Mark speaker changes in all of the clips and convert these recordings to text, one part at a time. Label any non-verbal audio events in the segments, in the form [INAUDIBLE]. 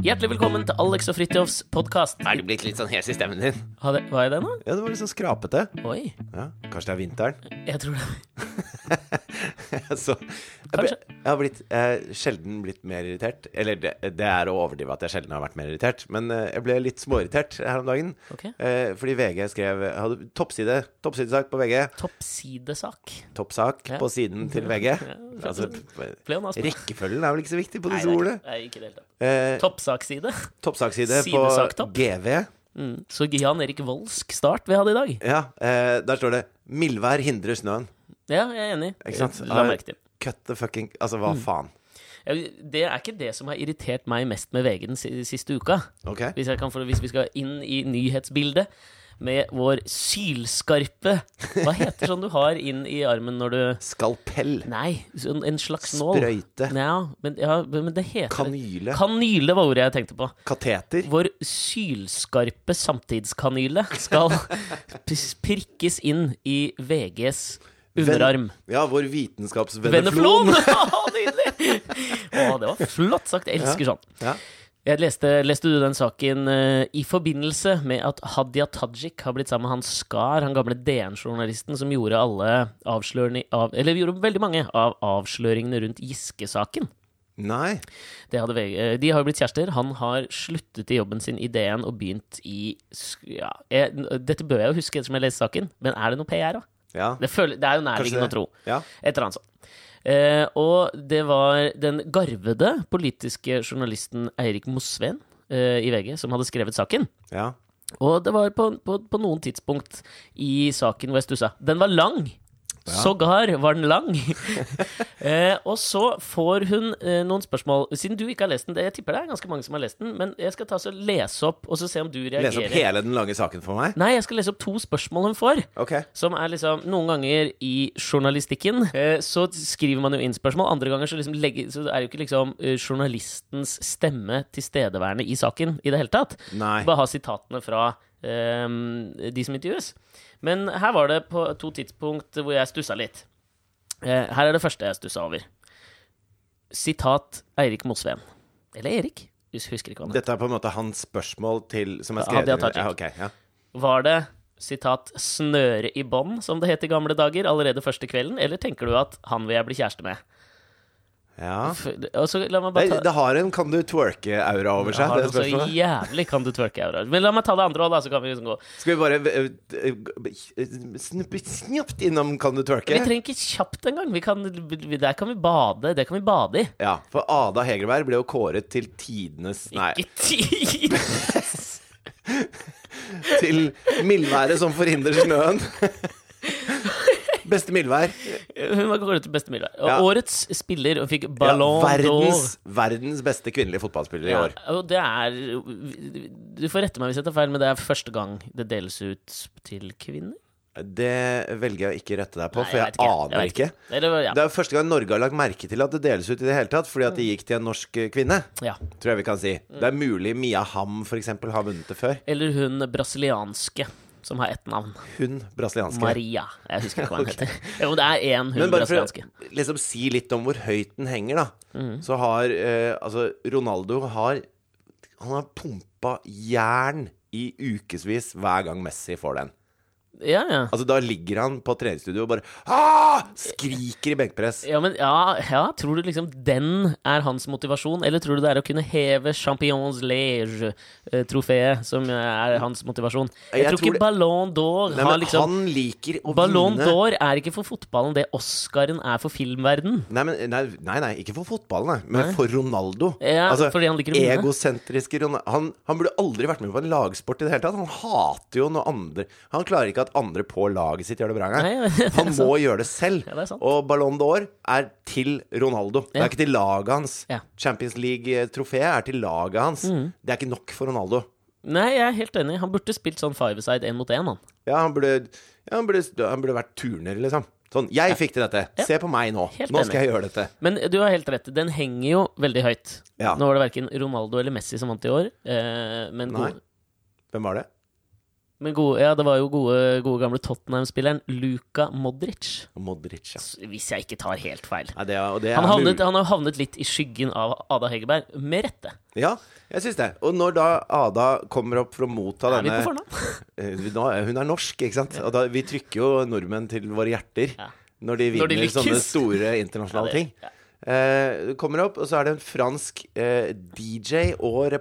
Speaker 1: Hjertelig velkommen til Alex og Fridtjofs podkast.
Speaker 2: Er du blitt litt sånn hes i stemmen din?
Speaker 1: Var jeg det nå?
Speaker 2: Ja, det var litt sånn skrapete.
Speaker 1: Oi.
Speaker 2: Ja, kanskje det er vinteren. [LAUGHS]
Speaker 1: Jeg tror det.
Speaker 2: Så jeg, ble,
Speaker 1: Kanskje.
Speaker 2: jeg har blitt eh, sjelden blitt mer irritert. Eller det, det er å overdrive at jeg sjelden har vært mer irritert, men eh, jeg ble litt småirritert her om dagen.
Speaker 1: Ok.
Speaker 2: Eh, fordi VG skrev hadde toppside, toppsidesak på VG.
Speaker 1: Toppsidesak.
Speaker 2: Toppsak
Speaker 1: Ja.
Speaker 2: på siden til VG. Altså,
Speaker 1: [LAUGHS] Ble jo naspe.
Speaker 2: rekkefølgen er vel ikke så viktig på
Speaker 1: Nei,
Speaker 2: disse
Speaker 1: det er
Speaker 2: ordene.
Speaker 1: ikke- Nei, ikke det hele tatt.
Speaker 2: Eh,
Speaker 1: Toppsakside.
Speaker 2: toppsakside på
Speaker 1: Sidesak topp.
Speaker 2: GV.
Speaker 1: Mm. Så Jan Erik Voldsk start vi hadde i dag.
Speaker 2: Ja, eh, der står det 'Mildvær hindrer snøen'.
Speaker 1: Ja, jeg er enig. Eh,
Speaker 2: Ikke sant?
Speaker 1: La merke til.
Speaker 2: Cut the fucking Altså, hva
Speaker 1: Mm.
Speaker 2: faen?
Speaker 1: Jeg- Det er ikke det som har irritert meg mest med VG den si- siste uka.
Speaker 2: Ok?
Speaker 1: Hvis, jeg kan få, hvis vi skal inn i nyhetsbildet med vår sylskarpe Hva heter sånn du har inn i armen når du
Speaker 2: Skalpell.
Speaker 1: Nei, sånn en slags nål.
Speaker 2: Sprøyte.
Speaker 1: Ja, men, ja, men det heter
Speaker 2: Kanyle.
Speaker 1: Kanyle var ordet jeg tenkte på.
Speaker 2: Kateter.
Speaker 1: Vår sylskarpe samtidskanyle skal pis- prikkes inn i VGs underarm.
Speaker 2: Ja, vår vitenskapsvenneflon.
Speaker 1: Venneflon! [LAUGHS] Å, Nydelig! Å, det var flott sagt. Jeg elsker sånn.
Speaker 2: Ja.
Speaker 1: Jeg leste, leste du den saken eh, i forbindelse med at Hadia Tajik har blitt sammen med han Skar, han gamle DN-journalisten som gjorde alle avsløringene av Eller gjorde veldig mange av avsløringene rundt Giske-saken.
Speaker 2: Nei.
Speaker 1: Det hadde VG. eh, De har jo blitt kjærester. Han har sluttet i jobben sin i DN og begynt i sk- ja, jeg, Dette bør jeg jo huske ettersom jeg leste saken, men er det noe PR, da?
Speaker 2: Ja.
Speaker 1: Det, føler, det er jo nærliggende å
Speaker 2: det.
Speaker 1: tro.
Speaker 2: Ja.
Speaker 1: Et eller annet sånt. Eh, og det var den garvede politiske journalisten Eirik Mosveen eh, i VG som hadde skrevet saken.
Speaker 2: ja.
Speaker 1: Og det var på, på, på noen tidspunkt i saken hvor jeg stussa. Den var lang! Sågar var den lang. [LAUGHS] eh, og så får hun eh, noen spørsmål. Siden du ikke har lest den, det, jeg tipper det er ganske mange som har lest den, men jeg skal ta så lese opp, og så se om du reagerer.
Speaker 2: Lese opp hele den lange saken for meg?
Speaker 1: Nei, jeg skal lese opp to spørsmål hun får.
Speaker 2: Ok.
Speaker 1: Som er liksom Noen ganger i journalistikken eh, så skriver man jo inn spørsmål. Andre ganger så, liksom legger, så er jo ikke liksom eh, journalistens stemme tilstedeværende i saken i det hele tatt.
Speaker 2: Nei.
Speaker 1: Bare ha sitatene fra eh, de som intervjues. Men her var det på to tidspunkt hvor jeg stussa litt. Eh, her er det første jeg stussa over. Sitat Eirik Mosveen. Eller Erik. Jeg husker ikke hva han
Speaker 2: Dette er på en måte hans spørsmål til Som er
Speaker 1: Hadia Tajik.
Speaker 2: skrevet Ja, ok, ja.
Speaker 1: Var det sitat, 'snøre i bånd', som det het i gamle dager, allerede første kvelden, eller tenker du at 'han vil jeg bli kjæreste med'?
Speaker 2: ja.
Speaker 1: F og så la meg bare
Speaker 2: Det,
Speaker 1: ta
Speaker 2: det har en kan du twerke-aura over
Speaker 1: Jeg
Speaker 2: seg.
Speaker 1: har
Speaker 2: Det
Speaker 1: det så
Speaker 2: spørsmålet.
Speaker 1: jævlig kan du twerke aura. Men la meg ta det andre òg, da, så kan vi liksom gå.
Speaker 2: Skal vi bare eh, eh, snuppe snapt innom kan du
Speaker 1: Vi
Speaker 2: twerke?
Speaker 1: trenger ikke kjapt engang. Vi kan, vi- der kan vi bade. Det kan vi bade i.
Speaker 2: Ja, for Ada Hegerberg ble jo kåret til tidenes Nei,
Speaker 1: Ikke tid! [LAUGHS]
Speaker 2: til mildværet som forhindrer snøen. Beste mildvær.
Speaker 1: Hun var kåret til beste middag. Og
Speaker 2: Ja.
Speaker 1: årets spiller og fikk
Speaker 2: Ja,
Speaker 1: Ballon d'Or.
Speaker 2: verdens, verdens beste kvinnelige fotballspiller i år.
Speaker 1: Ja, og det er Du får rette meg hvis jeg tar feil, men det er første gang det deles ut til kvinner.
Speaker 2: Det velger jeg å ikke rette deg på,
Speaker 1: Nei,
Speaker 2: for jeg,
Speaker 1: vet
Speaker 2: aner
Speaker 1: vet
Speaker 2: ikke.
Speaker 1: Eller, ja. Mm.
Speaker 2: Det er jo første gang Norge har lagt merke til at det deles ut i det hele tatt, fordi at det gikk til en norsk eh, kvinne.
Speaker 1: ja.
Speaker 2: Tror jeg vi kan si.
Speaker 1: Mm.
Speaker 2: Det er mulig Mia Hamm for eksempel har vunnet det før.
Speaker 1: Eller hun brasilianske som har ett navn.
Speaker 2: Hun brasilianske.
Speaker 1: Maria. Jeg husker
Speaker 2: [LAUGHS]
Speaker 1: ikke hva hun heter. Jo, det er én hun
Speaker 2: Men bare for
Speaker 1: brasilianske. Mm.
Speaker 2: å liksom, si litt om hvor høyt den henger, da. Så har eh, altså Ronaldo har Han har pumpa jern i ukevis hver gang Messi får den.
Speaker 1: Ja, ja.
Speaker 2: Altså Da ligger han på treningsstudio og bare ah! skriker i benkpress.
Speaker 1: Ja, men ja, ja, tror du liksom den er hans motivasjon, eller tror du det er å kunne heve Champions Liège-trofeet som er hans motivasjon? Jeg,
Speaker 2: Jeg
Speaker 1: tror
Speaker 2: tror
Speaker 1: ikke
Speaker 2: det-
Speaker 1: Ballon d'Or
Speaker 2: Nei,
Speaker 1: har
Speaker 2: men
Speaker 1: liksom
Speaker 2: Han liker å
Speaker 1: Ballon
Speaker 2: vinne.
Speaker 1: d'Or er ikke for fotballen det Oscaren er for filmverden.
Speaker 2: Nei, men, nei, nei, nei, ikke for fotballen, nei, men for Ronaldo. Altså,
Speaker 1: Ja, fordi han liker å vinne.
Speaker 2: Egosentriske Ronaldo. Han, han burde aldri vært med på en lagsport i det hele tatt. Han hater jo når andre Han klarer ikke at andre på laget sitt gjør det bra
Speaker 1: Nei, [LAUGHS] ja,
Speaker 2: engang.
Speaker 1: det er
Speaker 2: Han
Speaker 1: sant.
Speaker 2: må gjøre det selv.
Speaker 1: Ja, det er sant.
Speaker 2: og Ballon d'Or er til Ronaldo. Det
Speaker 1: Ja.
Speaker 2: er ikke til laget hans.
Speaker 1: Ja. Mm.
Speaker 2: Champions League-trofeet er til laget hans. Det er ikke nok for Ronaldo.
Speaker 1: Nei, jeg er helt enig. Han burde spilt sånn five-side én mot én, han.
Speaker 2: Ja, han burde, ja, han burde, han burde vært turner, liksom. Sånn, jeg fikk til dette. Se på meg nå.
Speaker 1: Helt
Speaker 2: Nå skal
Speaker 1: enig.
Speaker 2: jeg gjøre dette.
Speaker 1: Men du har helt rett, den henger jo veldig høyt.
Speaker 2: Ja.
Speaker 1: Nå var det verken Ronaldo eller Messi som vant i år, eh, men
Speaker 2: Nei.
Speaker 1: god-
Speaker 2: Hvem var det?
Speaker 1: Men gode, ja, det var jo gode, gode gamle Tottenham-spilleren Luka Modric.
Speaker 2: Modric, ja.
Speaker 1: Hvis jeg ikke tar helt feil.
Speaker 2: Nei, det er, og det
Speaker 1: Han,
Speaker 2: er mulig-
Speaker 1: havnet, han har havnet litt i skyggen av Ada Hegerberg, med rette.
Speaker 2: Ja, jeg syns det. Og når da Ada kommer opp for å motta
Speaker 1: Er vi
Speaker 2: denne
Speaker 1: på fornavn?
Speaker 2: Eh, nå er- Hun er norsk, ikke sant? Og da, vi trykker jo nordmenn til våre hjerter
Speaker 1: Ja.
Speaker 2: når de
Speaker 1: Når
Speaker 2: vinner
Speaker 1: de lykkes.
Speaker 2: sånne store internasjonale
Speaker 1: Ja,
Speaker 2: ting.
Speaker 1: det- ja.
Speaker 2: Eh, det kommer opp, og så er det en fransk eh, DJ og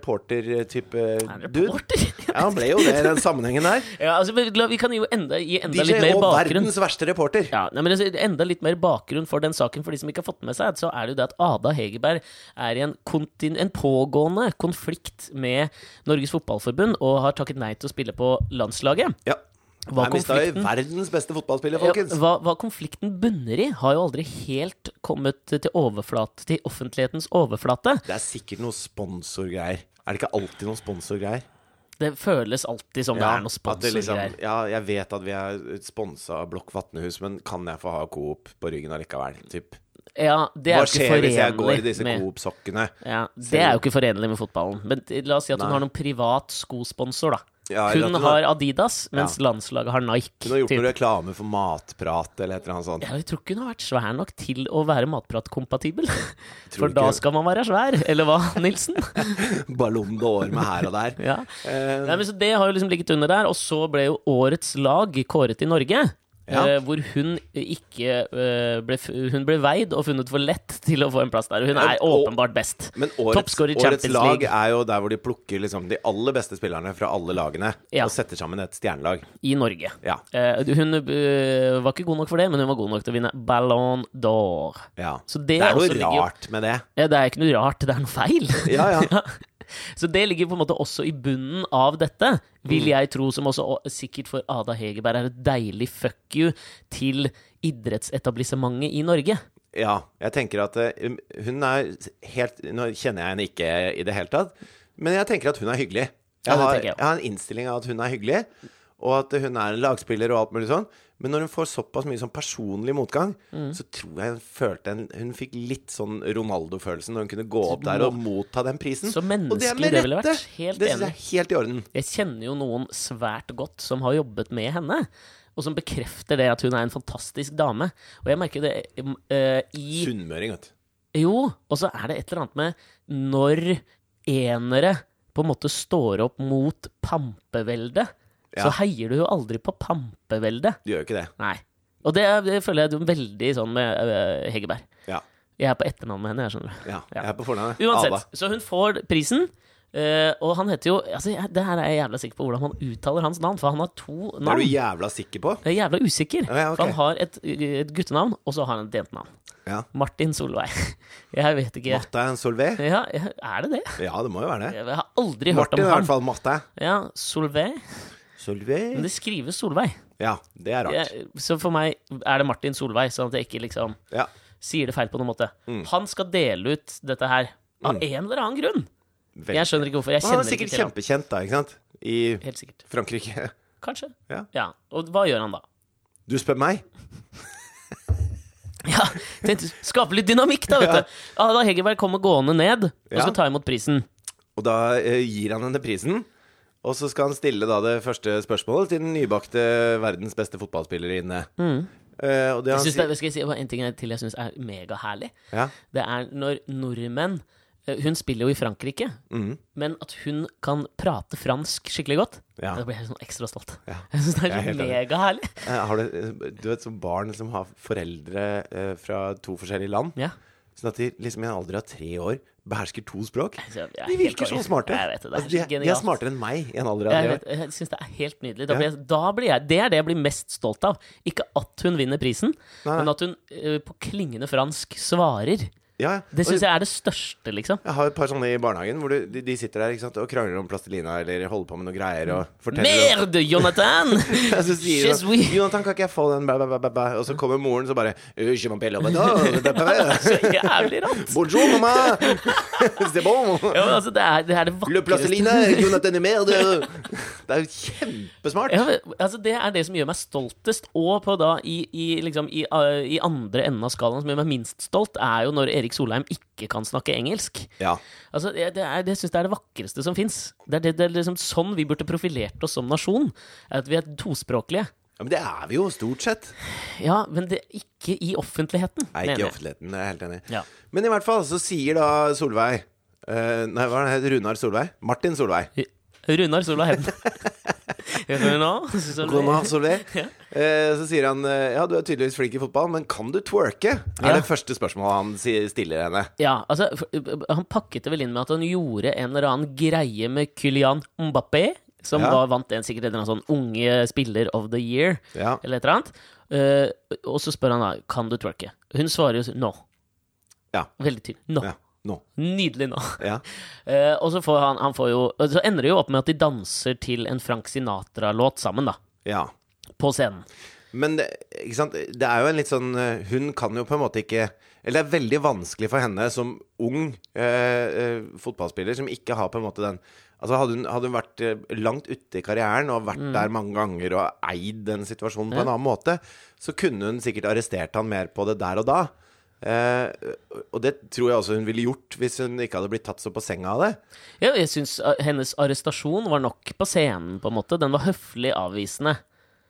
Speaker 1: Er
Speaker 2: reporter-type
Speaker 1: det
Speaker 2: dude.
Speaker 1: reporter?
Speaker 2: Ja, han ble jo det i den sammenhengen der.
Speaker 1: [LAUGHS] Ja, altså, men la- vi kan jo enda, gi enda litt
Speaker 2: DJ
Speaker 1: mer
Speaker 2: og
Speaker 1: bakgrunn.
Speaker 2: verdens verste reporter.
Speaker 1: Ja, nei, men altså, Enda litt mer bakgrunn for den saken, for de som ikke har fått med seg, så er det jo det at Ada Hegerberg er i en, kontin- en pågående konflikt med Norges Fotballforbund og har takket nei til å spille på landslaget.
Speaker 2: Ja.
Speaker 1: Hva
Speaker 2: Her mista vi
Speaker 1: konflikten-
Speaker 2: verdens beste fotballspiller,
Speaker 1: Ja,
Speaker 2: folkens.
Speaker 1: Hva, hva konflikten bunner i, har jo aldri helt kommet til, overflat, til offentlighetens overflate.
Speaker 2: Det er sikkert noe sponsorgreier. Er det ikke alltid noen sponsorgreier?
Speaker 1: Det føles alltid som det er noe
Speaker 2: at det liksom-
Speaker 1: sponsorgreier.
Speaker 2: ja, jeg vet at vi er sponsa av Blokk Vatnehus, men kan jeg få ha Coop på ryggen allikevel? Typ.
Speaker 1: Ja, det er jo
Speaker 2: Hva
Speaker 1: ikke
Speaker 2: skjer hvis jeg går i
Speaker 1: forenlig
Speaker 2: disse
Speaker 1: med
Speaker 2: Coop-sokkene?
Speaker 1: ja, Det er jo ikke forenlig med fotballen. Men t- la oss si at hun
Speaker 2: Nei.
Speaker 1: har noen privat skosponsor, da.
Speaker 2: Ja, eller at
Speaker 1: Hun
Speaker 2: hun
Speaker 1: har Adidas, mens
Speaker 2: Ja.
Speaker 1: landslaget har Nike.
Speaker 2: Hun har gjort
Speaker 1: typ.
Speaker 2: noe reklame for matprat eller et eller annet sånt.
Speaker 1: Ja, jeg tror ikke hun har vært svær nok til å være matpratkompatibel.
Speaker 2: Tror
Speaker 1: For
Speaker 2: du
Speaker 1: da
Speaker 2: ikke?
Speaker 1: skal man være svær, eller hva,
Speaker 2: [LAUGHS]
Speaker 1: Nilsen?
Speaker 2: Ballon d'Or med her
Speaker 1: [LAUGHS]
Speaker 2: og der.
Speaker 1: Ja.
Speaker 2: Eh,
Speaker 1: Nei, men så Det har jo liksom ligget under der, og så ble jo årets lag kåret i Norge.
Speaker 2: Ja.
Speaker 1: eh, hvor hun ikke eh, ble, f- Hun ble veid og funnet for lett til å få en plass der. Hun
Speaker 2: Ja,
Speaker 1: er
Speaker 2: og-
Speaker 1: åpenbart best.
Speaker 2: men årets,
Speaker 1: Toppscorer i
Speaker 2: årets
Speaker 1: Champions
Speaker 2: lag
Speaker 1: League.
Speaker 2: er jo der hvor de plukker liksom de aller beste spillerne fra alle lagene
Speaker 1: Ja.
Speaker 2: og setter sammen et stjernelag.
Speaker 1: i Norge.
Speaker 2: Ja.
Speaker 1: Eh, hun eh, var ikke god nok for det, men hun var god nok til å vinne Ballon d'Or.
Speaker 2: ja.
Speaker 1: Så det,
Speaker 2: Det er
Speaker 1: også
Speaker 2: noe
Speaker 1: ligger jo-
Speaker 2: rart med det.
Speaker 1: Ja, det er ikke noe rart, det er noe feil.
Speaker 2: [LAUGHS] Ja, ja.
Speaker 1: Så det ligger på en måte også i bunnen av dette, vil
Speaker 2: Mm.
Speaker 1: jeg tro, som også og sikkert for Ada Hegerberg er et deilig fuck you til idrettsetablissementet i Norge.
Speaker 2: Ja, jeg tenker at eh, hun er helt Nå kjenner jeg henne ikke i det hele tatt, men jeg tenker at hun er hyggelig.
Speaker 1: Ja,
Speaker 2: Jeg
Speaker 1: det
Speaker 2: har,
Speaker 1: tenker jeg også.
Speaker 2: jeg har en innstilling av at hun er hyggelig, og at hun er en lagspiller og alt mulig sånn. Men når hun får såpass mye sånn personlig motgang,
Speaker 1: Mm.
Speaker 2: så tror jeg hun følte en, Hun fikk litt sånn Ronaldo-følelsen når hun kunne gå opp der og motta den prisen.
Speaker 1: Så
Speaker 2: Og det er
Speaker 1: menneskelig
Speaker 2: med
Speaker 1: det ville
Speaker 2: rette.
Speaker 1: vært. Helt
Speaker 2: Det synes
Speaker 1: enig.
Speaker 2: jeg er helt i orden.
Speaker 1: Jeg kjenner jo noen svært godt som har jobbet med henne, og som bekrefter det at hun er en fantastisk dame. Og jeg merker det eh, i
Speaker 2: Sunnmøring, vet du.
Speaker 1: Jo, og så er det et eller annet med når enere på en måte står opp mot pampeveldet, så
Speaker 2: Ja.
Speaker 1: heier du jo aldri på pampeveldet.
Speaker 2: Du gjør jo ikke det.
Speaker 1: Nei. Og det, er- det føler jeg er veldig sånn med øh, Hegerberg.
Speaker 2: Ja.
Speaker 1: Jeg er på etternavn med henne, jeg skjønner.
Speaker 2: ja.
Speaker 1: Ja.
Speaker 2: Jeg er på fornavnet.
Speaker 1: Uansett,
Speaker 2: Ada.
Speaker 1: så hun får prisen. øh, og han heter jo altså, jeg- Det her er jeg jævla sikker på hvordan man uttaler hans navn, for han har to
Speaker 2: Det er
Speaker 1: navn.
Speaker 2: du jævla sikker på?
Speaker 1: Jeg er jævla usikker.
Speaker 2: Ja, ja, ok.
Speaker 1: For han har et, et guttenavn, og så har han et jentenavn.
Speaker 2: Ja.
Speaker 1: Martin Solveig. [LAUGHS] Jeg vet ikke.
Speaker 2: Matta er en solvay?
Speaker 1: Ja, ja, er det det?
Speaker 2: Ja, det må jo være det.
Speaker 1: Jeg har aldri hørt
Speaker 2: Martin er i
Speaker 1: om
Speaker 2: hvert
Speaker 1: ham.
Speaker 2: fall matte.
Speaker 1: Ja, Solveig. Men
Speaker 2: Solveig
Speaker 1: det skrives Solveig.
Speaker 2: Ja, det er rart.
Speaker 1: Jeg, så for meg er det Martin Solveig, sånn at jeg ikke liksom
Speaker 2: Ja.
Speaker 1: sier det feil på noen måte. Han skal dele ut dette her av
Speaker 2: Mm.
Speaker 1: en eller annen grunn.
Speaker 2: Vel.
Speaker 1: Jeg skjønner ikke hvorfor. Jeg
Speaker 2: Han er
Speaker 1: kjenner ikke
Speaker 2: sikkert
Speaker 1: til ham.
Speaker 2: kjempekjent, da, ikke sant? I
Speaker 1: Helt sikkert.
Speaker 2: Frankrike.
Speaker 1: Kanskje.
Speaker 2: Ja.
Speaker 1: Ja. Og hva gjør han da? [LAUGHS]
Speaker 2: Du spør meg?
Speaker 1: Ja, tenkte, Skape litt dynamikk, da, vet
Speaker 2: Ja.
Speaker 1: du. Ada Hegerberg kommer gående ned og
Speaker 2: Ja.
Speaker 1: skal ta imot prisen.
Speaker 2: Og da eh, gir han henne prisen. Og så skal han stille da det første spørsmålet til den nybakte verdens beste fotballspillerinne. Eh, og
Speaker 1: Mm.
Speaker 2: det
Speaker 1: Jeg synes
Speaker 2: han
Speaker 1: det,
Speaker 2: sier
Speaker 1: skal jeg si, En ting til jeg syns er megaherlig.
Speaker 2: ja.
Speaker 1: Det er når nordmenn eh, Hun spiller jo i Frankrike,
Speaker 2: Mm.
Speaker 1: men at hun kan prate fransk skikkelig godt,
Speaker 2: Ja.
Speaker 1: da blir jeg sånn ekstra stolt.
Speaker 2: Ja.
Speaker 1: [LAUGHS] Jeg syns det
Speaker 2: Jeg er
Speaker 1: er
Speaker 2: helt enig.
Speaker 1: megaherlig.
Speaker 2: Eh, har du, eh, du vet, som barn som har foreldre eh, fra to forskjellige land,
Speaker 1: Ja.
Speaker 2: sånn at de liksom i en alder av tre år behersker to språk.
Speaker 1: Så jeg er
Speaker 2: De
Speaker 1: helt
Speaker 2: virker så
Speaker 1: konge.
Speaker 2: smarte.
Speaker 1: Jeg vet det, det er
Speaker 2: Altså, de,
Speaker 1: så
Speaker 2: er- de er
Speaker 1: genialt.
Speaker 2: smartere enn meg i en alder av
Speaker 1: Jeg,
Speaker 2: tre år.
Speaker 1: vet- jeg syns det er helt nydelig. Da blir jeg, da blir jeg, det er det jeg blir mest stolt av. Ikke at hun vinner prisen,
Speaker 2: Nei.
Speaker 1: men at hun eh, på klingende fransk svarer.
Speaker 2: Ja, ja.
Speaker 1: Det
Speaker 2: Og-
Speaker 1: syns jeg er det største, liksom.
Speaker 2: Jeg har et par sånne i barnehagen hvor du, de, de sitter der ikke sant, og krangler om plastelina eller holder på med noen greier. Og forteller
Speaker 1: Merde, Jonathan!
Speaker 2: [LAUGHS] og så sier
Speaker 1: Yes, we-
Speaker 2: hun, Jonathan, kan ikke jeg få den? Bæ, bæ, bæ, bæ, bæ. Og så kommer moren så bare «Øh, je m'appelle Obado, bæ, bæ,
Speaker 1: [LAUGHS]
Speaker 2: bæ.
Speaker 1: Så jævlig rart.
Speaker 2: Bonjour, mamma! [LAUGHS] C'est bon!
Speaker 1: Ja, men altså, det, er, det er det
Speaker 2: Le
Speaker 1: vakreste
Speaker 2: plastelina, Jonathan er merde! Det er jo kjempesmart!
Speaker 1: Ja, men, altså Det er det som gjør meg stoltest, og på da i, i, liksom, i, eh, i andre enden av skalaen som gjør meg minst stolt, er jo når Erik Erik Solheim ikke kan snakke engelsk.
Speaker 2: Ja.
Speaker 1: Altså, Det, det, er- det syns jeg er det vakreste som fins. Det er, det, det er liksom sånn vi burde profilert oss som nasjon. At vi er tospråklige.
Speaker 2: ja, men det er vi jo stort sett.
Speaker 1: Ja, men det ikke i offentligheten.
Speaker 2: Nei, ikke
Speaker 1: mener
Speaker 2: i
Speaker 1: jeg.
Speaker 2: offentligheten, jeg er helt enig.
Speaker 1: Ja.
Speaker 2: Men i hvert fall så sier da Solveig eh, Nei, hva er det? het? Runar Solveig? Martin Solveig.
Speaker 1: Runar Solheim.
Speaker 2: [LAUGHS]
Speaker 1: Runar Solheim.
Speaker 2: Runar Solveig.
Speaker 1: [LAUGHS] Ja.
Speaker 2: Eh, så sier han eh, Ja, du er tydeligvis flink i fotball, men kan du twerke?
Speaker 1: Ja.
Speaker 2: Er det første spørsmålet han sier, stiller henne.
Speaker 1: Ja, altså, f- han pakket det vel inn med at han gjorde en eller annen greie med Kylian Mbappé, som
Speaker 2: Ja.
Speaker 1: var, vant en sikkert en eller annen sånn unge spiller of the year,
Speaker 2: Ja.
Speaker 1: eller et eller annet. Eh, og så spør han da, kan du twerke? Hun svarer jo så- no.
Speaker 2: Ja.
Speaker 1: Veldig tydelig. No.
Speaker 2: ja. Nå.
Speaker 1: Nydelig nå.
Speaker 2: Ja.
Speaker 1: Eh, og så, får han, han får jo, og så ender det jo opp med at de danser til en Frank Sinatra-låt sammen, da.
Speaker 2: ja.
Speaker 1: På scenen.
Speaker 2: Men det- ikke sant? det er jo en litt sånn eh, Hun kan jo på en måte ikke Eller det er veldig vanskelig for henne som ung eh, eh, fotballspiller som ikke har på en måte den Altså Hadde hun, hadde hun vært eh, langt ute i karrieren og
Speaker 1: Mm.
Speaker 2: vært der mange ganger og eid den situasjonen på en annen måte, så kunne hun sikkert arrestert han mer på det der og da. Eh, og det tror jeg også hun ville gjort hvis hun ikke hadde blitt tatt så på senga av det.
Speaker 1: Ja, jeg syns eh, hennes arrestasjon var nok på scenen, på en måte. Den var høflig avvisende.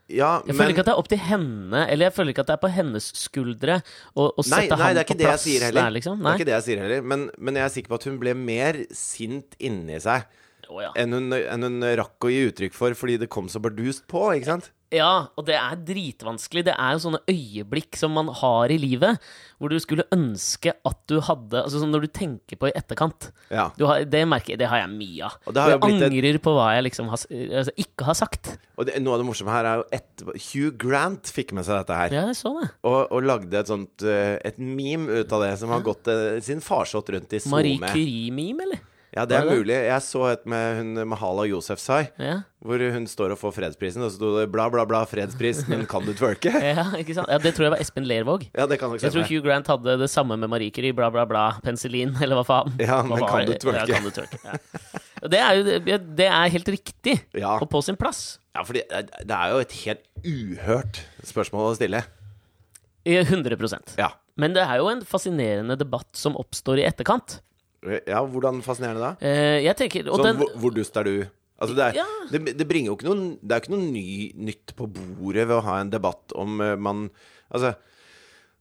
Speaker 2: Ja,
Speaker 1: Jeg
Speaker 2: men
Speaker 1: føler ikke at det er opp til henne, eller jeg føler ikke at det er på hennes skuldre å, å sette
Speaker 2: Nei, nei,
Speaker 1: han
Speaker 2: det er ikke
Speaker 1: på
Speaker 2: det jeg
Speaker 1: plass
Speaker 2: sier heller.
Speaker 1: der, liksom.
Speaker 2: Det
Speaker 1: Nei.
Speaker 2: er ikke det jeg sier heller men, men jeg er sikker på at hun ble mer sint inni seg
Speaker 1: Å, ja.
Speaker 2: enn hun, enn hun rakk å gi uttrykk for fordi det kom så bardust på, ikke sant?
Speaker 1: ja, og det er dritvanskelig. Det er jo sånne øyeblikk som man har i livet, hvor du skulle ønske at du hadde Altså sånn når du tenker på i etterkant.
Speaker 2: Ja.
Speaker 1: Du har, det merker jeg, det har jeg mye av.
Speaker 2: Og det har jo
Speaker 1: Jeg
Speaker 2: blitt et-
Speaker 1: angrer på hva jeg liksom har, s- altså, ikke har sagt.
Speaker 2: Og det, noe av det morsomme her er jo etterpå Hugh Grant fikk med seg dette her.
Speaker 1: Ja, jeg så det.
Speaker 2: Og, og lagde et sånt eh, Et meme ut av det som har gått eh, sin farsott rundt i SoMe.
Speaker 1: Marie Curie-meme, eller?
Speaker 2: Ja, det er
Speaker 1: Var det det?
Speaker 2: mulig. Jeg så et med hun Mahala Yousefzai,
Speaker 1: Ja.
Speaker 2: hvor hun står og får fredsprisen, og så sto det bla, bla, bla, fredspris, men kan du
Speaker 1: [LAUGHS]
Speaker 2: twerke?
Speaker 1: ja, ikke sant? Ja, det tror jeg var Espen Lervåg.
Speaker 2: Ja, det kan nok
Speaker 1: Jeg tror
Speaker 2: stemme.
Speaker 1: Hugh Grant hadde det samme med Marie Curie, bla, bla, bla, penicillin, [LAUGHS] eller hva faen.
Speaker 2: Ja, men
Speaker 1: Hva var
Speaker 2: kan du
Speaker 1: det?
Speaker 2: twerke?
Speaker 1: Ja, kan du twerke? Ja. Og Det er jo det- det er helt riktig,
Speaker 2: Ja.
Speaker 1: og på sin plass.
Speaker 2: Ja, for det det er jo et helt uhørt spørsmål å stille.
Speaker 1: I 100
Speaker 2: Ja.
Speaker 1: Men det er jo en fascinerende debatt som oppstår i etterkant.
Speaker 2: ja hvordan fascinerende da?
Speaker 1: Eh, Jeg tenker, og
Speaker 2: Sånn,
Speaker 1: den,
Speaker 2: hvor, hvor dust er du? Altså, det, er,
Speaker 1: Ja.
Speaker 2: det, det bringer jo ikke noen Det er jo ikke noe ny, nytt på bordet ved å ha en debatt om eh, man Altså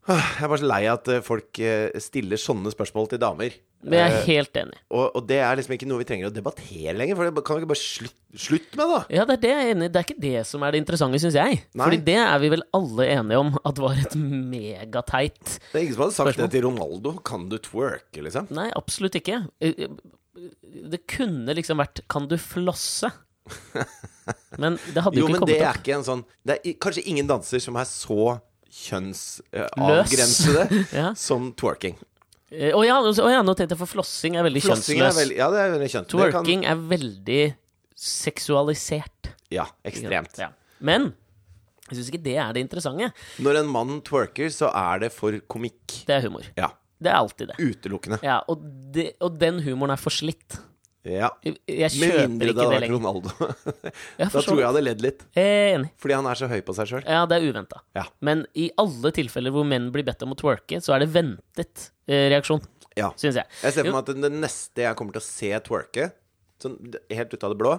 Speaker 2: ah, Jeg er bare så lei av at eh, folk eh, stiller sånne spørsmål til damer.
Speaker 1: Men jeg er
Speaker 2: Eh,
Speaker 1: helt enig.
Speaker 2: og, og det er liksom ikke noe vi trenger å debattere lenger, for det kan vi ikke bare slutt, slutt med, da.
Speaker 1: Ja, det er det jeg er enig i. Det er ikke det som er det interessante, syns jeg.
Speaker 2: Nei.
Speaker 1: Fordi det er vi vel alle enige om at var et megateit
Speaker 2: Det er ingen som hadde sagt
Speaker 1: Spørsmål.
Speaker 2: det til Ronaldo. Kan du twerke, liksom?
Speaker 1: Nei, absolutt ikke. Det kunne liksom vært Kan du flosse? Men det hadde jo,
Speaker 2: Jo,
Speaker 1: ikke
Speaker 2: men det
Speaker 1: kommet
Speaker 2: er
Speaker 1: opp.
Speaker 2: ikke en sånn Det er i- kanskje ingen danser som er så
Speaker 1: Løs.
Speaker 2: kjønnsavgrensede
Speaker 1: [LAUGHS] Ja.
Speaker 2: som twerking.
Speaker 1: Eh, Å ja, nå- å ja, nå tenkte jeg, for flossing er veldig
Speaker 2: Flossing er
Speaker 1: kjønnsløs.
Speaker 2: veldig Ja, det er veldig kjønn. det kan-
Speaker 1: Twerking er veldig seksualisert.
Speaker 2: Ja, ekstremt.
Speaker 1: Ja. Men jeg syns ikke det er det interessante.
Speaker 2: Når en mann twerker, så er det for komikk.
Speaker 1: Det er humor.
Speaker 2: Ja.
Speaker 1: Det er alltid det.
Speaker 2: Utelukkende.
Speaker 1: Ja, og, det, og den humoren er forslitt.
Speaker 2: Ja.
Speaker 1: Jeg, jeg
Speaker 2: Med
Speaker 1: kjøper
Speaker 2: mindre det
Speaker 1: ikke
Speaker 2: hadde
Speaker 1: det
Speaker 2: vært
Speaker 1: lenger.
Speaker 2: Ronaldo. [LAUGHS]
Speaker 1: Jeg
Speaker 2: da tror jeg
Speaker 1: forstår.
Speaker 2: jeg hadde ledd litt.
Speaker 1: Jeg er Eh, enig.
Speaker 2: Fordi han er så høy på seg sjøl.
Speaker 1: Ja, det er uventa.
Speaker 2: Ja.
Speaker 1: Men i alle tilfeller hvor menn blir bedt om å twerke, så er det ventet eh, reaksjon,
Speaker 2: Ja.
Speaker 1: syns jeg.
Speaker 2: Jeg ser for
Speaker 1: Jo.
Speaker 2: meg at det neste jeg kommer til å se twerke, sånn helt ut av det blå,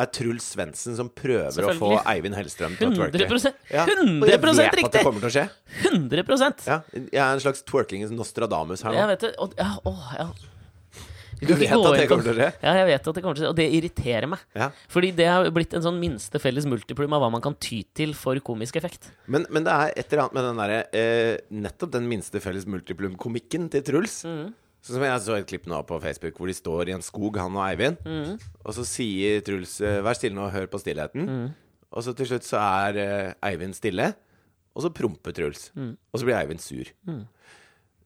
Speaker 2: er Truls Svendsen som prøver å få
Speaker 1: Selvfølgelig.
Speaker 2: Eivind Hellstrøm til å twerke.
Speaker 1: 100,
Speaker 2: Ja, og jeg
Speaker 1: 100
Speaker 2: vet at det
Speaker 1: riktig!
Speaker 2: kommer til å skje.
Speaker 1: 100
Speaker 2: Ja, jeg er en slags twerkingens Nostradamus her
Speaker 1: Jeg
Speaker 2: nå.
Speaker 1: vet det. Og, ja, åh, ja. Vi
Speaker 2: Du
Speaker 1: kan
Speaker 2: vet
Speaker 1: ikke gå
Speaker 2: at det
Speaker 1: inn på-
Speaker 2: kommer til å skje?
Speaker 1: Ja, jeg vet at det kommer til å skje, og det irriterer meg.
Speaker 2: Ja.
Speaker 1: Fordi det har blitt en sånn minste felles multiplum av hva man kan ty til for komisk effekt.
Speaker 2: Men, men det er et eller annet med den derre eh, Nettopp den minste felles multiplum-komikken til Truls.
Speaker 1: Mm.
Speaker 2: Sånn som jeg så et klipp nå på Facebook hvor de står i en skog, han og Eivind.
Speaker 1: Mm.
Speaker 2: Og så sier Truls eh, 'vær stille nå, hør på stillheten'.
Speaker 1: Mm.
Speaker 2: Og så til slutt så er eh, Eivind stille, og så promper Truls. Og så blir Eivind sur.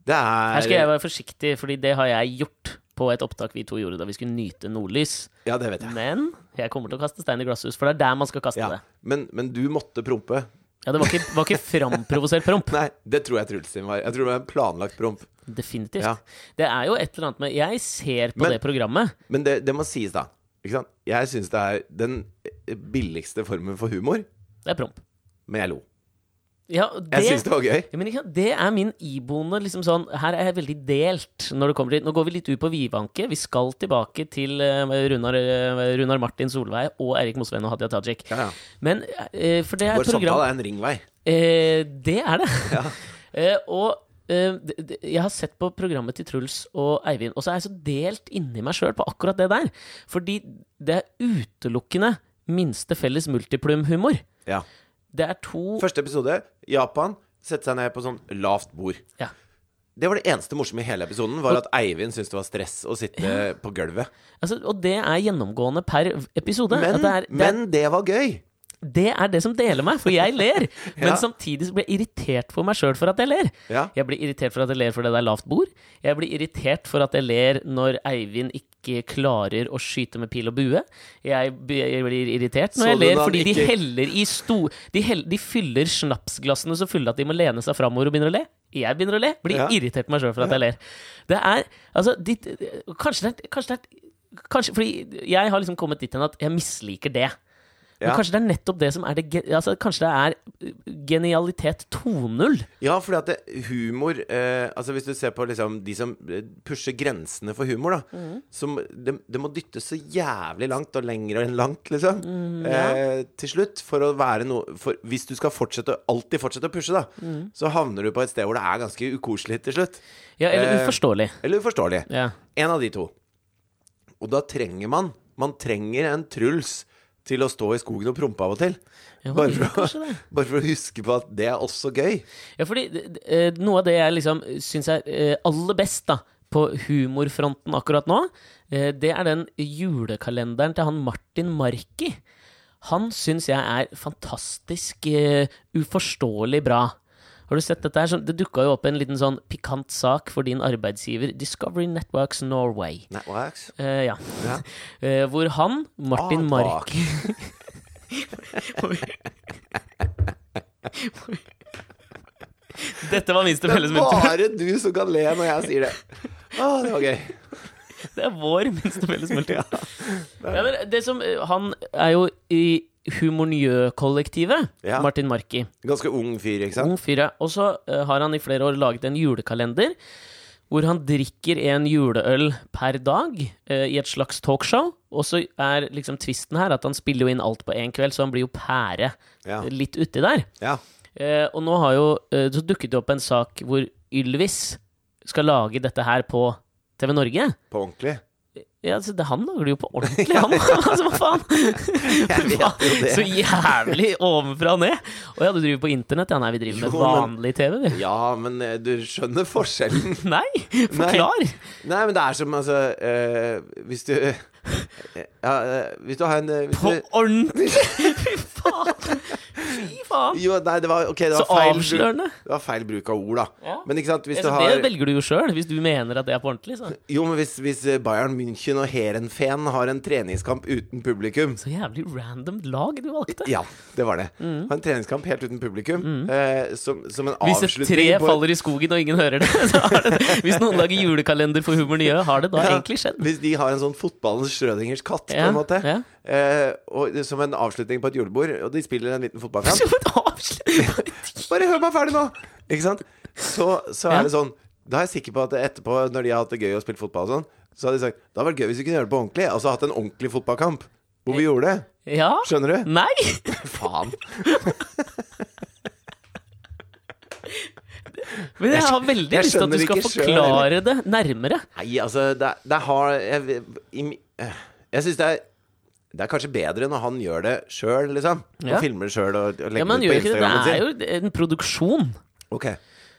Speaker 2: Det er
Speaker 1: Mm. Her skal jeg være forsiktig, fordi det har jeg gjort på et opptak vi to gjorde da vi skulle nyte nordlys.
Speaker 2: Ja, det vet jeg.
Speaker 1: Men jeg kommer til å kaste stein i glasshus, for det er der man skal kaste
Speaker 2: Ja.
Speaker 1: det.
Speaker 2: Men, men du måtte prompe.
Speaker 1: Ja, det var ikke, var ikke framprovosert promp.
Speaker 2: Nei, det tror jeg Truls sin var. Jeg tror det var en planlagt promp.
Speaker 1: Definitivt.
Speaker 2: Ja.
Speaker 1: Det er jo et eller annet med Jeg ser på
Speaker 2: Men-
Speaker 1: det programmet.
Speaker 2: Men det, det må sies, da. Ikke sant? Jeg syns det er den billigste formen for humor,
Speaker 1: Det er promp.
Speaker 2: men jeg lo.
Speaker 1: Ja, det,
Speaker 2: Jeg syns det var gøy.
Speaker 1: Ja, men ikke sant? Det er min iboende liksom sånn, Her er jeg veldig delt når det kommer til Nå går vi litt ut på vidvanke. Vi skal tilbake til eh, Runar, eh, Runar Martin Solveig og Erik Mosveen og Hadia Tajik.
Speaker 2: Ja, ja.
Speaker 1: Men eh, For det er
Speaker 2: Vår
Speaker 1: et program
Speaker 2: samtale er en ringvei.
Speaker 1: Eh, det er
Speaker 2: [LAUGHS]
Speaker 1: det. Eh, og eh, d- d- jeg har sett på programmet til Truls og Eivind, og så er jeg så delt inni meg sjøl på akkurat det der. Fordi det er utelukkende minste felles multiplum-humor.
Speaker 2: Ja.
Speaker 1: Det er to
Speaker 2: Første episode, Japan. Sette seg ned på sånn lavt bord.
Speaker 1: ja.
Speaker 2: Det var det eneste morsomme i hele episoden, var at Eivind syntes det var stress å sitte på gulvet.
Speaker 1: altså, Og det er gjennomgående per episode.
Speaker 2: Men
Speaker 1: at det, er, det,
Speaker 2: men det var gøy!
Speaker 1: er, det er det som deler meg, for jeg
Speaker 2: [LAUGHS]
Speaker 1: ler.
Speaker 2: Ja.
Speaker 1: Men samtidig så blir jeg irritert på meg sjøl for at jeg ler.
Speaker 2: Ja.
Speaker 1: Jeg blir irritert for at jeg ler fordi det er lavt bord. Jeg blir irritert for at jeg ler når Eivind ikke klarer å skyte med pil og bue. Jeg, b- jeg blir irritert når
Speaker 2: Så
Speaker 1: jeg
Speaker 2: du
Speaker 1: ler
Speaker 2: da
Speaker 1: fordi
Speaker 2: ikke-
Speaker 1: de heller i sto... De, hell, de fyller snapsglassene så fulle at de må lene seg framover og begynner å le. Jeg begynner å le. Blir
Speaker 2: Ja.
Speaker 1: irritert på meg sjøl for at jeg ler. Det er Altså, de, kanskje det er Kanskje det er Kanskje, fordi jeg har liksom kommet dit hen at jeg misliker det. Men
Speaker 2: Ja.
Speaker 1: kanskje det er nettopp det som er det ge- altså, Kanskje det er eh, genialitet 2.0.
Speaker 2: Ja, fordi at det, humor eh, Altså Hvis du ser på liksom de som eh, pusher grensene for humor, da
Speaker 1: Mm.
Speaker 2: som, det, det må dyttes så jævlig langt og lenger enn langt, liksom.
Speaker 1: Mm,
Speaker 2: eh, til slutt, for å være noe for Hvis du skal fortsette, alltid fortsette å pushe, da,
Speaker 1: Mm.
Speaker 2: så havner du på et sted hvor det er ganske ukoselig til slutt.
Speaker 1: Ja, eller
Speaker 2: Eh,
Speaker 1: uforståelig.
Speaker 2: Eller uforståelig.
Speaker 1: Ja.
Speaker 2: En av de to. Og da trenger man Man trenger en Truls til å stå i skogen og prompe av og til.
Speaker 1: Ja, man
Speaker 2: Bare
Speaker 1: gjør
Speaker 2: for,
Speaker 1: kanskje
Speaker 2: å,
Speaker 1: det.
Speaker 2: [LAUGHS] bare for å huske på at det er også gøy.
Speaker 1: ja, fordi eh, noe av det jeg liksom syns er eh, aller best da, på humorfronten akkurat nå, eh, det er den julekalenderen til han Martin Marki. Han syns jeg er fantastisk eh, uforståelig bra. Har du sett dette her? Sånn- Det dukka jo opp en liten sånn pikant sak for din arbeidsgiver, Discovery Networks Norway.
Speaker 2: Nei, wax.
Speaker 1: Eh, ja.
Speaker 2: Ja.
Speaker 1: [LAUGHS] Eh, hvor han, Martin
Speaker 2: Ah,
Speaker 1: Mark [LAUGHS] Dette var minste felles multiplum.
Speaker 2: Bare du som kan le når jeg sier det. Å, det var gøy.
Speaker 1: Det er vår minste felles
Speaker 2: [LAUGHS]
Speaker 1: multiplum. Ja, men det som, eh, han er jo i Humornjø-kollektivet,
Speaker 2: Ja.
Speaker 1: Martin Marki.
Speaker 2: Ganske ung fyr, ikke sant?
Speaker 1: Ung fyr, ja. Og så eh, har han i flere år laget en julekalender hvor han drikker en juleøl per dag eh, i et slags talkshow. Og så er liksom tvisten her at han spiller jo inn alt på én kveld, så han blir jo pære
Speaker 2: Ja.
Speaker 1: eh, litt uti der.
Speaker 2: Ja.
Speaker 1: Eh, og nå har jo eh, så dukket det opp en sak hvor Ylvis skal lage dette her på TV Norge.
Speaker 2: På ordentlig.
Speaker 1: Ja, altså, det, Han lager det jo på ordentlig, han! [LAUGHS] altså, hva faen?
Speaker 2: [LAUGHS] Jeg vet jo
Speaker 1: Så
Speaker 2: det.
Speaker 1: jævlig ovenfra og ned! Å ja, du driver på internett? Ja, nei, vi driver med
Speaker 2: Jo, men-
Speaker 1: vanlig TV, vi. [LAUGHS]
Speaker 2: Ja, men eh, du skjønner forskjellen.
Speaker 1: Nei, forklar!
Speaker 2: Nei, men det er som, altså eh, Hvis du eh, ja, eh, Hvis du har en eh, hvis
Speaker 1: På
Speaker 2: du,
Speaker 1: ordentlig! [LAUGHS] Fy faen! Fy faen!
Speaker 2: Jo, nei, det var, ok, det var
Speaker 1: Så
Speaker 2: feil bruk-
Speaker 1: avslørende.
Speaker 2: Det var feil bruk av ord, da.
Speaker 1: Ja.
Speaker 2: Men ikke sant, hvis du
Speaker 1: Altså,
Speaker 2: har
Speaker 1: Det velger du jo sjøl, hvis du mener at det er på ordentlig. Så,
Speaker 2: Jo, men hvis, hvis eh, Bayern München og Heerenveen har en treningskamp uten publikum
Speaker 1: så jævlig random lag du valgte.
Speaker 2: Ja, det var det. Ha en treningskamp helt uten publikum. Eh, som, som en
Speaker 1: Hvis et Mm. tre
Speaker 2: avslutning på-
Speaker 1: faller i skogen og ingen hører det, [LAUGHS] så har det Hvis noen lager julekalender for Humor Nye, har det da
Speaker 2: Ja,
Speaker 1: egentlig skjedd?
Speaker 2: Hvis de har en sånn fotballens Schrødingers katt, på
Speaker 1: Ja,
Speaker 2: en måte.
Speaker 1: ja.
Speaker 2: Eh, og, som en avslutning på et julebord, og de spiller en liten fotballkamp.
Speaker 1: [LAUGHS] Så et avsløring!
Speaker 2: Bare hør meg ferdig nå! Ikke sant? Så, så
Speaker 1: Ja.
Speaker 2: er det sånn Da er jeg sikker på at etterpå, når de har hatt det gøy og spilt fotball og sånn, så hadde de sagt Det hadde vært gøy hvis vi kunne gjøre det på ordentlig. Altså hatt en ordentlig fotballkamp. Hvor vi gjorde det.
Speaker 1: Ja? [LAUGHS]
Speaker 2: Skjønner du?
Speaker 1: Nei!
Speaker 2: Faen.
Speaker 1: Men jeg har veldig
Speaker 2: Jeg
Speaker 1: lyst til at
Speaker 2: skjønner
Speaker 1: du skal
Speaker 2: ikke selv,
Speaker 1: forklare det nærmere.
Speaker 2: Nei, altså Det, er- det har Jeg, i mi- eh, jeg syns det er det er kanskje bedre når han gjør det sjøl, liksom. Han
Speaker 1: Ja.
Speaker 2: filmer det sjøl og, og
Speaker 1: Ja,
Speaker 2: legger
Speaker 1: men
Speaker 2: det
Speaker 1: gjør
Speaker 2: ut på
Speaker 1: ikke det.
Speaker 2: Instagrammen
Speaker 1: Det er
Speaker 2: sin.
Speaker 1: jo en produksjon.
Speaker 2: Ok,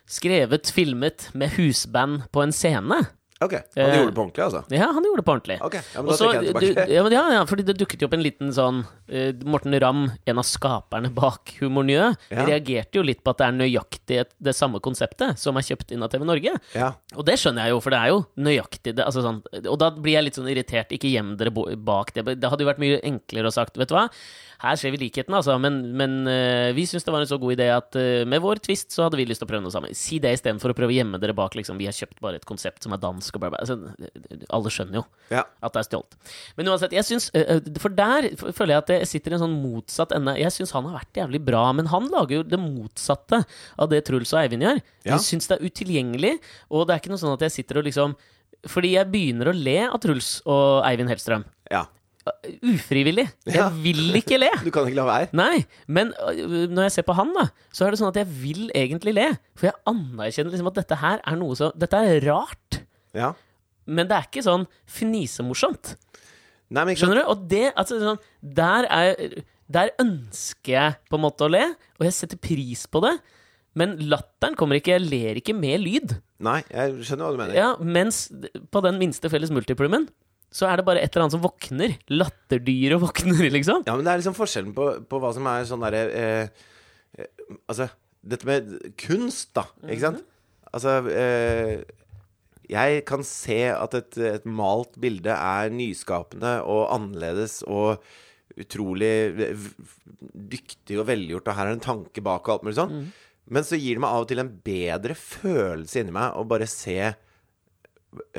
Speaker 1: Skrevet, filmet, med husband på en scene.
Speaker 2: ok Han
Speaker 1: Eh,
Speaker 2: gjorde det på ordentlig, altså.
Speaker 1: Ja, han gjorde det på ordentlig.
Speaker 2: Ok, ja, men da
Speaker 1: Og så-
Speaker 2: trekker jeg det
Speaker 1: du-
Speaker 2: tilbake.
Speaker 1: ja, men ja, ja, fordi det dukket jo opp en liten sånn eh, Morten Ramm, en av skaperne bak Humor Njø,
Speaker 2: Ja.
Speaker 1: reagerte jo litt på at det er nøyaktig et- det samme konseptet som er kjøpt inn av TV Norge.
Speaker 2: Ja.
Speaker 1: Og det skjønner jeg jo, for det er jo nøyaktig det. Altså sånn, og da blir jeg litt sånn irritert. Ikke gjem dere bo- bak det. Det hadde jo vært mye enklere å sagt, vet du hva. Her ser vi likheten, altså. Men, men eh, vi syns det var en så god idé at eh, med vår twist så hadde vi lyst til å prøve noe sammen. Si det istedenfor å prøve å gjemme dere bak, liksom. Vi har kjøpt bare et konsept som er dans fransk og bla, bla. Altså, alle skjønner jo
Speaker 2: Ja.
Speaker 1: at det er stjålet. Men uansett, jeg syns eh, eh, For der f- føler jeg at jeg sitter i en sånn motsatt ende. Jeg syns han har vært jævlig bra, men han lager jo det motsatte av det Truls og Eivind gjør.
Speaker 2: Ja.
Speaker 1: Jeg syns det er utilgjengelig, og det er ikke noe sånn at jeg sitter og liksom Fordi jeg begynner å le av Truls og Eivind Hellstrøm. Eh,
Speaker 2: ja.
Speaker 1: Ufrivillig.
Speaker 2: Ja.
Speaker 1: Jeg vil ikke le.
Speaker 2: Du kan ikke la være.
Speaker 1: Nei, men øh, når jeg ser på han, da, så er det sånn at jeg vil egentlig le. For jeg anerkjenner liksom at dette her er noe som Dette er rart,
Speaker 2: Ja.
Speaker 1: men det er ikke sånn fnisemorsomt.
Speaker 2: Nei, men ikke sant?
Speaker 1: Skjønner du? Og det, altså, sånn, der, er, der ønsker jeg på en måte å le, og jeg setter pris på det. Men latteren kommer ikke. Jeg ler ikke med lyd.
Speaker 2: Nei, jeg skjønner hva du mener.
Speaker 1: Ja, mens d- på den minste felles multiplumen så er det bare et eller annet som våkner. Latterdyret våkner, liksom.
Speaker 2: Ja, men det er liksom forskjellen på, på hva som er sånn derre eh, eh, Altså, dette med kunst, da. Ikke sant? Altså eh, Jeg kan se at et, et malt bilde er nyskapende og annerledes og utrolig v- v- dyktig og velgjort, og her er en tanke bak og alt mulig sånn. Men så gir det meg av og til en bedre følelse inni meg å bare se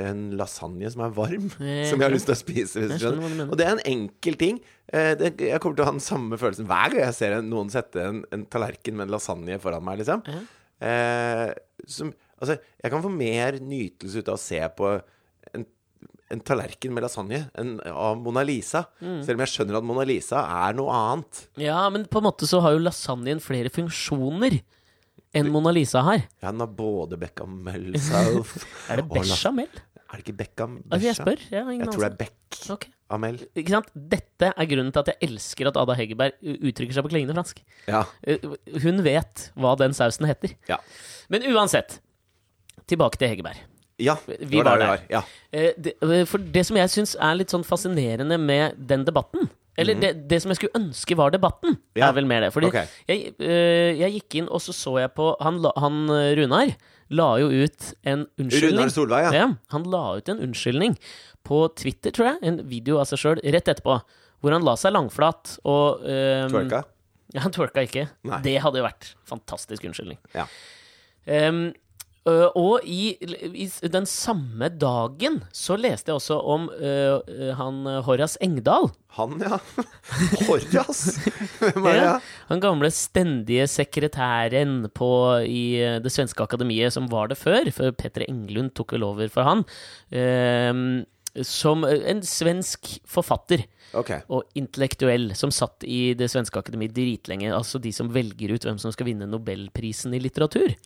Speaker 2: en lasagne som er varm, [LAUGHS]
Speaker 1: Ja,
Speaker 2: som jeg har
Speaker 1: ja.
Speaker 2: lyst til å spise. Hvis
Speaker 1: Jeg
Speaker 2: du
Speaker 1: skjønner hva du
Speaker 2: skjønner.
Speaker 1: mener.
Speaker 2: Og det er en enkel ting. Eh, det, jeg kommer til å ha den samme følelsen hver gang jeg ser en, noen sette en, en tallerken med en lasagne foran meg, liksom. Eh, som, altså, jeg kan få mer nytelse ut av å se på en, en tallerken med lasagne enn av Mona Lisa.
Speaker 1: Mm.
Speaker 2: Selv om jeg skjønner at Mona Lisa er noe annet.
Speaker 1: Ja, men på en måte så har jo lasagnen flere funksjoner enn Mona Lisa har.
Speaker 2: Ja, den har både bechamel south
Speaker 1: [LAUGHS] Er det
Speaker 2: og la-
Speaker 1: bechamel?
Speaker 2: Er det ikke bechamel?
Speaker 1: Altså, jeg spør. altså. Jeg, har ingen
Speaker 2: Jeg tror det
Speaker 1: anelse.
Speaker 2: er bechamel.
Speaker 1: Ok. Ikke sant? Dette er grunnen til at jeg elsker at Ada Hegerberg u- uttrykker seg på klingende fransk.
Speaker 2: Ja.
Speaker 1: Eh, Hun vet hva den sausen heter.
Speaker 2: Ja.
Speaker 1: Men uansett, tilbake til Hegerberg.
Speaker 2: ja. det
Speaker 1: Vi var
Speaker 2: der
Speaker 1: der.
Speaker 2: Ja.
Speaker 1: Eh, det, eh, for det som jeg syns er litt sånn fascinerende med den debatten Eller det, det som jeg skulle ønske var debatten,
Speaker 2: Mhm. Ja.
Speaker 1: er vel mer det. Fordi
Speaker 2: Ok.
Speaker 1: jeg, eh, jeg gikk inn, og så så jeg på Han, la- han eh, Runar la jo ut en unnskyldning.
Speaker 2: Runar Solveig, ja.
Speaker 1: Ja, han la ut en unnskyldning på Twitter, tror jeg. En video av seg sjøl rett etterpå. Hvor han la seg langflat og eh,
Speaker 2: Twerka.
Speaker 1: Ja, han twerka ikke.
Speaker 2: Nei.
Speaker 1: Det hadde jo vært fantastisk unnskyldning.
Speaker 2: Ja.
Speaker 1: Ehm, ø, og i, i s- den samme dagen så leste jeg også om ø, ø, han ø, Horace Engdahl.
Speaker 2: Han, ja. [LAUGHS] Horras! Hvem er det?
Speaker 1: Ja, Han gamle stendige sekretæren på, i eh, det svenske akademiet som var det før, for Petter Englund tok vel over for han, ehm, som eh, en svensk forfatter
Speaker 2: Ok.
Speaker 1: og intellektuell som satt i det svenske akademiet dritlenge, altså de som velger ut hvem som skal vinne Nobelprisen i litteratur.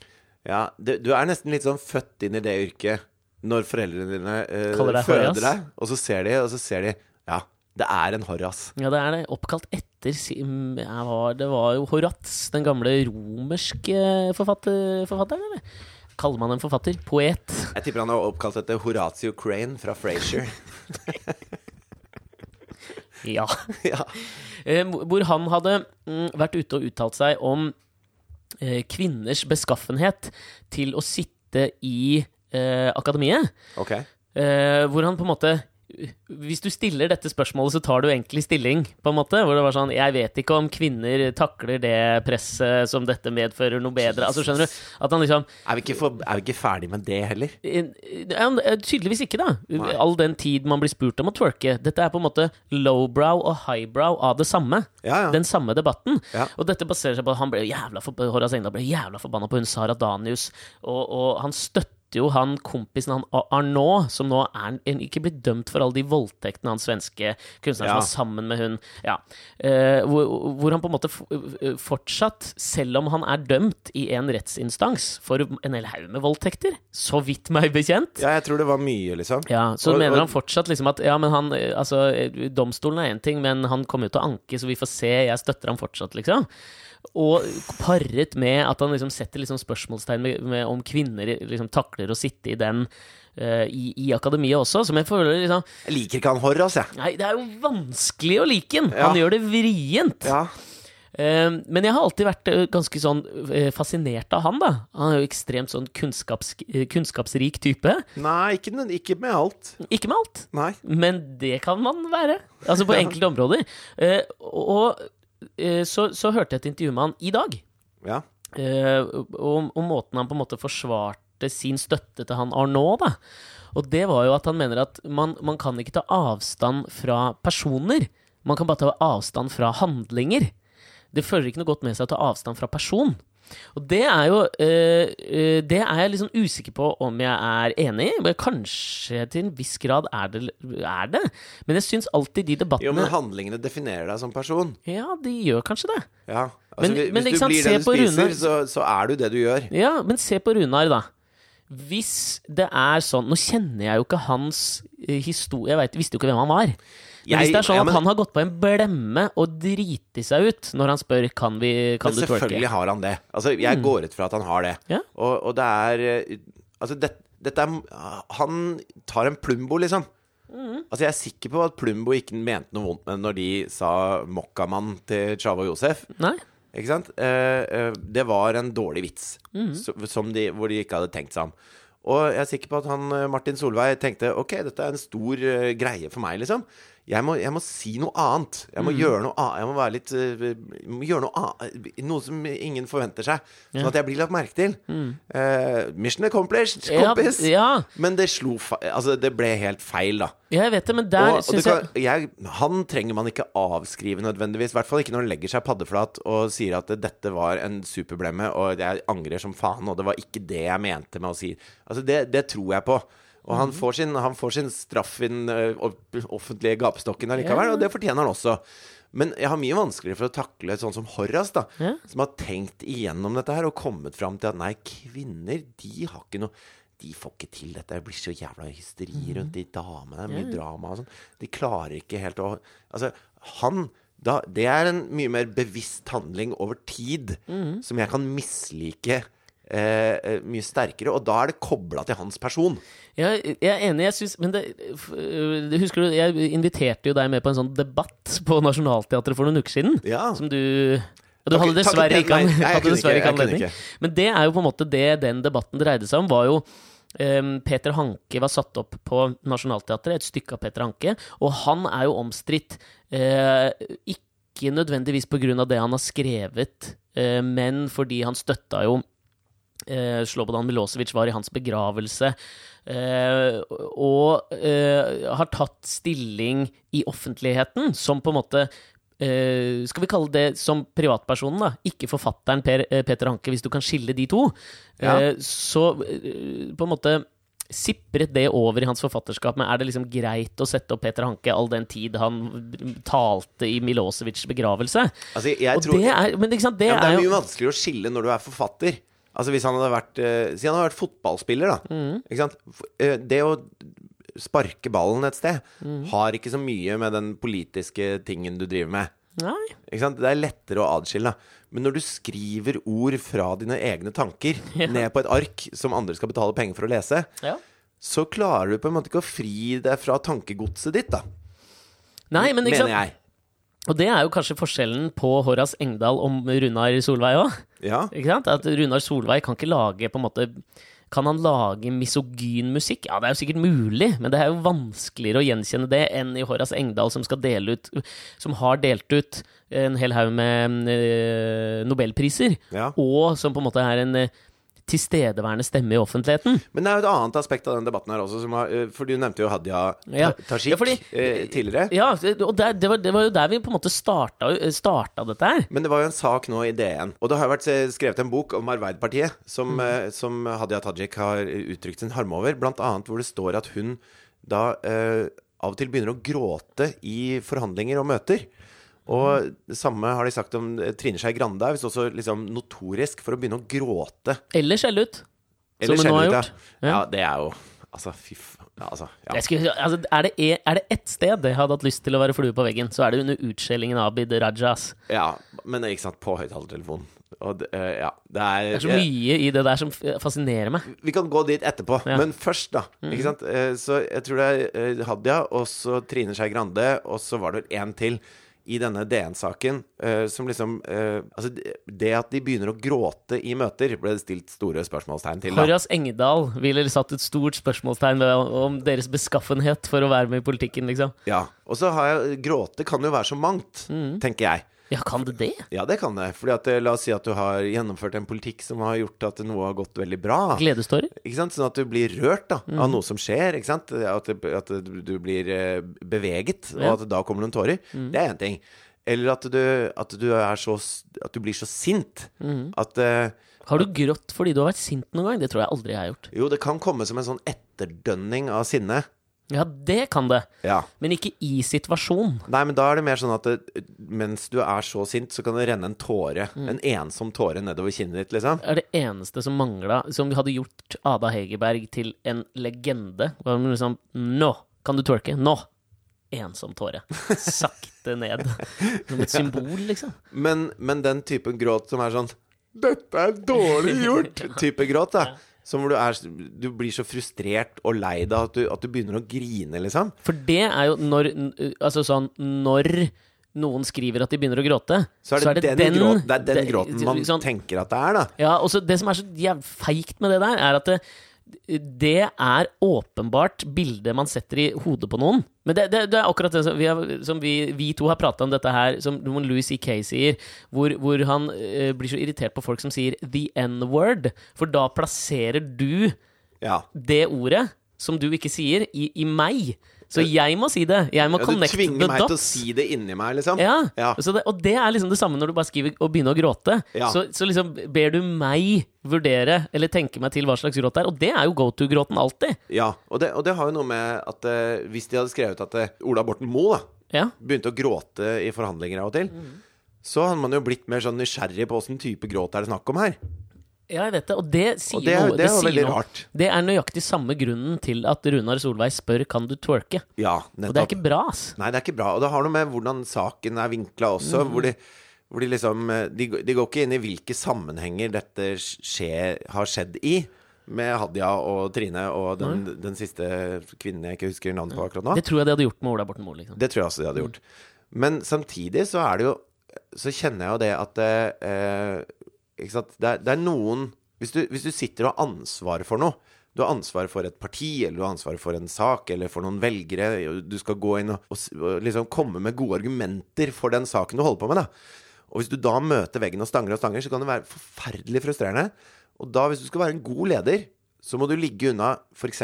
Speaker 2: Ja, du, du er nesten litt sånn født inn i det yrket når foreldrene dine eh,
Speaker 1: Kaller deg
Speaker 2: føder
Speaker 1: Horace.
Speaker 2: deg, og så ser de, og så ser de Ja, det er en Horras.
Speaker 1: Ja, det er det. Oppkalt etter si- mm, ja, var- Det var jo Horaz, den gamle romerske forfatter, forfatteren, eller? Kaller man en forfatter? Poet. [LAUGHS]
Speaker 2: Jeg tipper han er oppkalt etter Horatio Crane fra Frasier. [LAUGHS]
Speaker 1: Ja.
Speaker 2: ja.
Speaker 1: Eh, Hvor han hadde mm, vært ute og uttalt seg om eh, kvinners beskaffenhet til å sitte i eh, akademiet.
Speaker 2: Ok.
Speaker 1: Eh, hvor han på en måte Hvis du stiller dette spørsmålet, så tar du egentlig stilling, på en måte. Hvor det var sånn Jeg vet ikke om kvinner takler det presset som dette medfører, noe bedre. Altså, skjønner du? At han liksom
Speaker 2: Er vi ikke, for, er vi ikke ferdig med det heller?
Speaker 1: Eh, ja, men, eh, Tydeligvis ikke, da.
Speaker 2: Nei.
Speaker 1: All den tid man blir spurt om å twerke. Dette er på en måte lowbrow og highbrow av det samme.
Speaker 2: Ja, ja.
Speaker 1: Den samme debatten.
Speaker 2: Ja.
Speaker 1: Og dette baserer seg på at han ble jo jævla forb- Horace Engdahl ble jo jævla forbanna på hun Sara Danius, og, og han støtter jo han kompisen han Ar- Arnault, som nå er en- ikke blitt dømt for alle de voldtektene han svenske kunstneren
Speaker 2: Ja.
Speaker 1: som var sammen med hun ja. Eh, hvor, hvor han på en måte f- eh, fortsatt, selv om han er dømt i en rettsinstans for en hel haug med voldtekter, så vidt meg bekjent,
Speaker 2: Ja, jeg tror det var mye, liksom.
Speaker 1: ja, Så
Speaker 2: Og-
Speaker 1: mener
Speaker 2: og-
Speaker 1: han fortsatt liksom at ja, men han, eh, altså, eh, domstolen er én ting, men han kommer jo til å anke, så vi får se. Jeg støtter ham fortsatt, liksom. Og paret med at han liksom setter liksom spørsmålstegn med, med om kvinner liksom takler å sitte i den eh, i, i akademiet også, som jeg føler liksom
Speaker 2: Jeg liker ikke han Horras, jeg.
Speaker 1: Nei, det er jo vanskelig å like den!
Speaker 2: Ja.
Speaker 1: Han gjør det vrient!
Speaker 2: Ja.
Speaker 1: Eh, men jeg har alltid vært eh, ganske sånn eh, fascinert av han, da. Han er jo ekstremt sånn kunnskaps, eh, kunnskapsrik type.
Speaker 2: Nei, ikke, nød- ikke med alt.
Speaker 1: Ikke med alt.
Speaker 2: Nei.
Speaker 1: Men det kan man være. Altså på enkelte områder. Eh, og eh, så, så hørte jeg et intervju med han i dag.
Speaker 2: Ja.
Speaker 1: eh, om, om måten han på en måte forsvarte avslørte sin støtte til han Arnault, da. Og det var jo at han mener at man, man kan ikke ta avstand fra personer. Man kan bare ta avstand fra handlinger. Det fører ikke noe godt med seg å ta avstand fra person. Og det er jo eh, eh, Det er jeg litt sånn usikker på om jeg er enig i. men Kanskje til en viss grad er det. Er det. Men jeg syns alltid de
Speaker 2: Jo,
Speaker 1: debattene
Speaker 2: men handlingene definerer deg som person.
Speaker 1: Ja, de gjør kanskje det.
Speaker 2: Ja. Altså,
Speaker 1: Men-
Speaker 2: hvis
Speaker 1: men ikke
Speaker 2: hvis du
Speaker 1: sant,
Speaker 2: blir
Speaker 1: se
Speaker 2: den du
Speaker 1: på
Speaker 2: spiser,
Speaker 1: Rune.
Speaker 2: så, så er du det du gjør.
Speaker 1: Ja, men se på Runar, da. Hvis det er sånn Nå kjenner jeg jo ikke hans historie Jeg vet, visste jo ikke hvem han var. Men
Speaker 2: Jeg-
Speaker 1: hvis det er sånn
Speaker 2: ja,
Speaker 1: at
Speaker 2: men-
Speaker 1: han har gått på en blemme og driti seg ut når han spør kan, vi, kan
Speaker 2: Men
Speaker 1: du twerke
Speaker 2: selvfølgelig har han det. Altså, jeg går ut fra at han har det.
Speaker 1: Mm. Ja.
Speaker 2: Og, og det er eh, Altså, det, dette er Han tar en Plumbo, liksom.
Speaker 1: Mm.
Speaker 2: Altså, Jeg er sikker på at Plumbo ikke mente noe vondt med når de sa Mokkamann til Chavo Josef.
Speaker 1: Nei?
Speaker 2: Ikke sant? Eh, eh, det var en dårlig vits
Speaker 1: Mhm.
Speaker 2: so- som de, hvor de ikke hadde tenkt seg om. Og jeg er sikker på at han, eh, Martin Solveig tenkte ok, dette er en stor eh, greie for meg. liksom. Jeg må, jeg må si noe annet. Jeg
Speaker 1: Mhm.
Speaker 2: må gjøre noe annet. Jeg må være litt, eh, må gjøre noe, annet, noe som ingen forventer seg, sånn at jeg blir lagt merke til. Eh, mission accomplished, kompis!
Speaker 1: Mhm. Ja,
Speaker 2: Men det slo fe Altså, det ble helt feil, da.
Speaker 1: ja, jeg vet det, men der
Speaker 2: Og- og
Speaker 1: syns
Speaker 2: det kan,
Speaker 1: jeg
Speaker 2: jeg, han trenger man ikke avskrive nødvendigvis. I hvert fall ikke når han legger seg paddeflat og sier at dette var en superblemme, og jeg angrer som faen, og det var ikke det jeg mente med å si. Altså, det, det tror jeg på.
Speaker 1: Mhm.
Speaker 2: Og han får sin, han får sin straff i den ø, opp- offentlige gapestokken allikevel,
Speaker 1: Ja.
Speaker 2: og det fortjener han også. Men jeg har mye vanskeligere for å takle sånn som Horace, da,
Speaker 1: Ja.
Speaker 2: som har tenkt igjennom dette her og kommet fram til at nei, kvinner, de har ikke noe De får ikke til dette. Det blir så jævla
Speaker 1: Mhm.
Speaker 2: hysteri rundt de damene. Det er mye drama og sånn. De klarer ikke helt å Altså, han da, Det er en mye mer bevisst handling over tid
Speaker 1: Mhm.
Speaker 2: som jeg kan mislike. Eh, eh, mye sterkere, og da er det kobla til hans person.
Speaker 1: Jeg, jeg er enig, jeg syns Men det, f- øh, husker du, jeg inviterte jo deg med på en sånn debatt på Nationaltheatret for noen uker siden.
Speaker 2: Ja.
Speaker 1: Som du Du
Speaker 2: Takk-
Speaker 1: hadde dessverre
Speaker 2: takket
Speaker 1: ikke,
Speaker 2: nei.
Speaker 1: an,
Speaker 2: Nei, jeg
Speaker 1: hadde
Speaker 2: kunne
Speaker 1: dessverre ikke
Speaker 2: ikke, jeg kunne
Speaker 1: anledning. Men det er jo på en måte det den debatten dreide seg om, var jo em, Peter Hanke var satt opp på Nationaltheatret, et stykke av Peter Hanke, og han er jo omstridt. eh, ikke nødvendigvis på grunn av det han har skrevet, eh, men fordi han støtta jo eh, Slobodan Milosevic var i hans begravelse, eh, og eh, har tatt stilling i offentligheten som på en måte eh, skal vi kalle det som privatpersonen, da? Ikke forfatteren per, eh, Peter Hanke, hvis du kan skille de to.
Speaker 2: Ja.
Speaker 1: Eh, så eh, på en måte sipret det over i hans forfatterskap, men er det liksom greit å sette opp Peter Hanke all den tid han talte i Milosevics begravelse?
Speaker 2: Altså, jeg
Speaker 1: Og
Speaker 2: tror,
Speaker 1: det er, men ikke sant, det,
Speaker 2: Ja, men det er
Speaker 1: er jo
Speaker 2: mye vanskeligere å skille når du er forfatter. Altså hvis han hadde vært eh, Si han hadde vært fotballspiller, da.
Speaker 1: Mm.
Speaker 2: Ikke sant? F- eh, Det å sparke ballen et sted
Speaker 1: Mm.
Speaker 2: har ikke så mye med den politiske tingen du driver med.
Speaker 1: Nei.
Speaker 2: Ikke sant? Det er lettere å adskille. da. Men når du skriver ord fra dine egne
Speaker 1: [LAUGHS]
Speaker 2: tanker ned på et ark som andre skal betale penger for å lese,
Speaker 1: Ja.
Speaker 2: så klarer du på en måte ikke å fri deg fra tankegodset ditt, da.
Speaker 1: Nei, men ikke
Speaker 2: mener
Speaker 1: sant,
Speaker 2: jeg.
Speaker 1: Og det er jo kanskje forskjellen på Horace Engdahl og Runar Solveig òg.
Speaker 2: Ja.
Speaker 1: At Runar Solveig kan ikke lage på en måte Kan han lage misogyn musikk? Ja, det er jo sikkert mulig, men det er jo vanskeligere å gjenkjenne det enn i Horace Engdahl, som skal dele ut Som har delt ut en hel haug med eh, nobelpriser,
Speaker 2: Ja.
Speaker 1: og som på en måte er en eh, tilstedeværende stemme i offentligheten.
Speaker 2: Men det er jo et annet aspekt av den debatten her også, som har, eh, for du nevnte jo Hadia
Speaker 1: Ja.
Speaker 2: Ta- Tajik
Speaker 1: Ja, fordi-
Speaker 2: eh, tidligere.
Speaker 1: Ja, det- og der, det, var, det var jo der vi på en måte starta, starta dette her.
Speaker 2: Men det var jo en sak nå i DN, og det har jo vært eh, skrevet en bok om Arbeiderpartiet som,
Speaker 1: Mm.
Speaker 2: eh, som Hadia Tajik har uttrykt sin harm over, blant annet hvor det står at hun da eh, av og til begynner å gråte i forhandlinger og møter.
Speaker 1: Mm.
Speaker 2: Og det samme har de sagt om eh, Trine Skei Grande, er visst også liksom notorisk for å begynne å gråte.
Speaker 1: Eller skjelle ut.
Speaker 2: Eller
Speaker 1: Som hun nå har
Speaker 2: skjelle ut,
Speaker 1: gjort.
Speaker 2: Ja.
Speaker 1: Ja.
Speaker 2: ja, det er jo Altså, fy faen. Ja, altså, ja.
Speaker 1: Jeg skulle, altså, er, det, e- er det ett sted jeg hadde hatt lyst til å være flue på veggen, så er det under utskjellingen av Abid Raja. ass.
Speaker 2: ja. Men ikke sant, på høyttalertelefonen. Og det, eh, ja, det er, Eh,
Speaker 1: Det er så mye i det der som f- fascinerer meg.
Speaker 2: vi kan gå dit etterpå,
Speaker 1: Ja. Mm.
Speaker 2: men først, da. Ikke sant? Eh, Så jeg tror det er eh, Hadia, og så Trine Skei Grande, og så var det vel én til i denne DN-saken eh, som liksom eh, Altså, det- det at de begynner å gråte i møter, ble det stilt store spørsmålstegn til, da.
Speaker 1: Horace Engedal ville satt et stort spørsmålstegn ved om deres beskaffenhet for å være med i politikken, liksom. Mm.
Speaker 2: Ja. Og så har jeg Gråte kan jo være så mangt, tenker jeg.
Speaker 1: Ja, kan det det?
Speaker 2: Ja, det kan det. Fordi at, eh, la oss si at du har gjennomført en politikk som har gjort at noe har gått veldig bra.
Speaker 1: Gledestårer?
Speaker 2: Ikke sant? Sånn at du blir rørt da, av noe som skjer. Ikke sant? At, det- at du du blir eh, beveget,
Speaker 1: Ja.
Speaker 2: og at da kommer noen tårer. Det er én ting. Eller at du, at du, er så, s- at du blir så sint at eh,
Speaker 1: Har du grått fordi du har vært sint noen gang? Det tror jeg aldri jeg har gjort.
Speaker 2: Jo, det kan komme som en sånn etterdønning av sinne.
Speaker 1: Ja, det kan det.
Speaker 2: Ja.
Speaker 1: Men ikke i situasjon.
Speaker 2: Nei, men da er det mer sånn at det, mens du er så sint, så kan det renne en tåre. En ensom tåre nedover kinnet ditt, liksom.
Speaker 1: er det eneste som mangla, som hadde gjort Ada Hegerberg til en legende. Var hun liksom Nå kan du twerke! Nå! Ensom tåre. Sakte ned. Som et symbol, liksom.
Speaker 2: Men, men den typen gråt som er sånn 'Dette er dårlig
Speaker 1: [LAUGHS]
Speaker 2: gjort!'-type gråt, da. Som hvor du, er, du blir så frustrert og lei deg at, du- at du begynner å grine, liksom.
Speaker 1: For det er jo når Altså sånn når noen skriver at de begynner å gråte,
Speaker 2: Så er det, den, gråten, det er den gråten man
Speaker 1: liksom,
Speaker 2: tenker at det er, da.
Speaker 1: Ja, og så det som er så jæv- feigt med det der, er at det, det er åpenbart bildet man setter i hodet på noen. Men det, det, det er akkurat det som vi, har, som vi, vi to har prata om dette her, som Louis C.K. sier, hvor, hvor han eh, blir så irritert på folk som sier 'the N-word', for da plasserer du
Speaker 2: Ja.
Speaker 1: det ordet som du ikke sier, i, i meg. Så jeg må si det. Jeg må
Speaker 2: ja du
Speaker 1: connect the
Speaker 2: tvinger meg til å
Speaker 1: dots.
Speaker 2: si det inni meg, liksom.
Speaker 1: Ja,
Speaker 2: Ja.
Speaker 1: Så det, Og det er liksom det samme når du bare skriver og begynner å gråte.
Speaker 2: Ja.
Speaker 1: Så, så liksom ber du meg vurdere eller tenke meg til hva slags gråt det er. Og det er jo go to-gråten alltid.
Speaker 2: ja. Og, det, og det har jo noe med at eh, hvis de hadde skrevet at eh, Ola Borten Moe, da
Speaker 1: Ja.
Speaker 2: begynte å gråte i forhandlinger av og til,
Speaker 1: Mm.
Speaker 2: så hadde man jo blitt mer sånn nysgjerrig på åssen type gråt er det snakk om her.
Speaker 1: ja, jeg vet det. Og det sier
Speaker 2: Og det,
Speaker 1: noe.
Speaker 2: det er jo
Speaker 1: sier
Speaker 2: veldig
Speaker 1: noe.
Speaker 2: rart.
Speaker 1: Det er nøyaktig samme grunnen til at Runar Solveig spør kan du twerke.
Speaker 2: Ja,
Speaker 1: Og det er
Speaker 2: nettopp.
Speaker 1: ikke bra, ass.
Speaker 2: Nei, det er ikke bra. Og det har noe med hvordan saken er vinkla også, hvor de hvor de liksom eh, de, de går ikke inn i hvilke sammenhenger dette skje, har skjedd i. Med Hadia og Trine og den, den siste kvinnen jeg ikke husker navnet på akkurat nå.
Speaker 1: Det tror jeg de hadde gjort med Ola Borten Moe. Liksom.
Speaker 2: Det tror jeg også de hadde gjort. Men samtidig så er det jo Så kjenner jeg jo det at eh, eh, Ikke sant. Det er, det er noen hvis du, hvis du sitter og har ansvar for noe du har ansvar for et parti, eller du har ansvar for en sak, eller for noen velgere. og Du skal gå inn og, og, s- og liksom komme med gode argumenter for den saken du holder på med. da. Og hvis du da møter veggen og stanger og stanger, så kan det være forferdelig frustrerende. Og da, hvis du skal være en god leder, så må du ligge unna f.eks.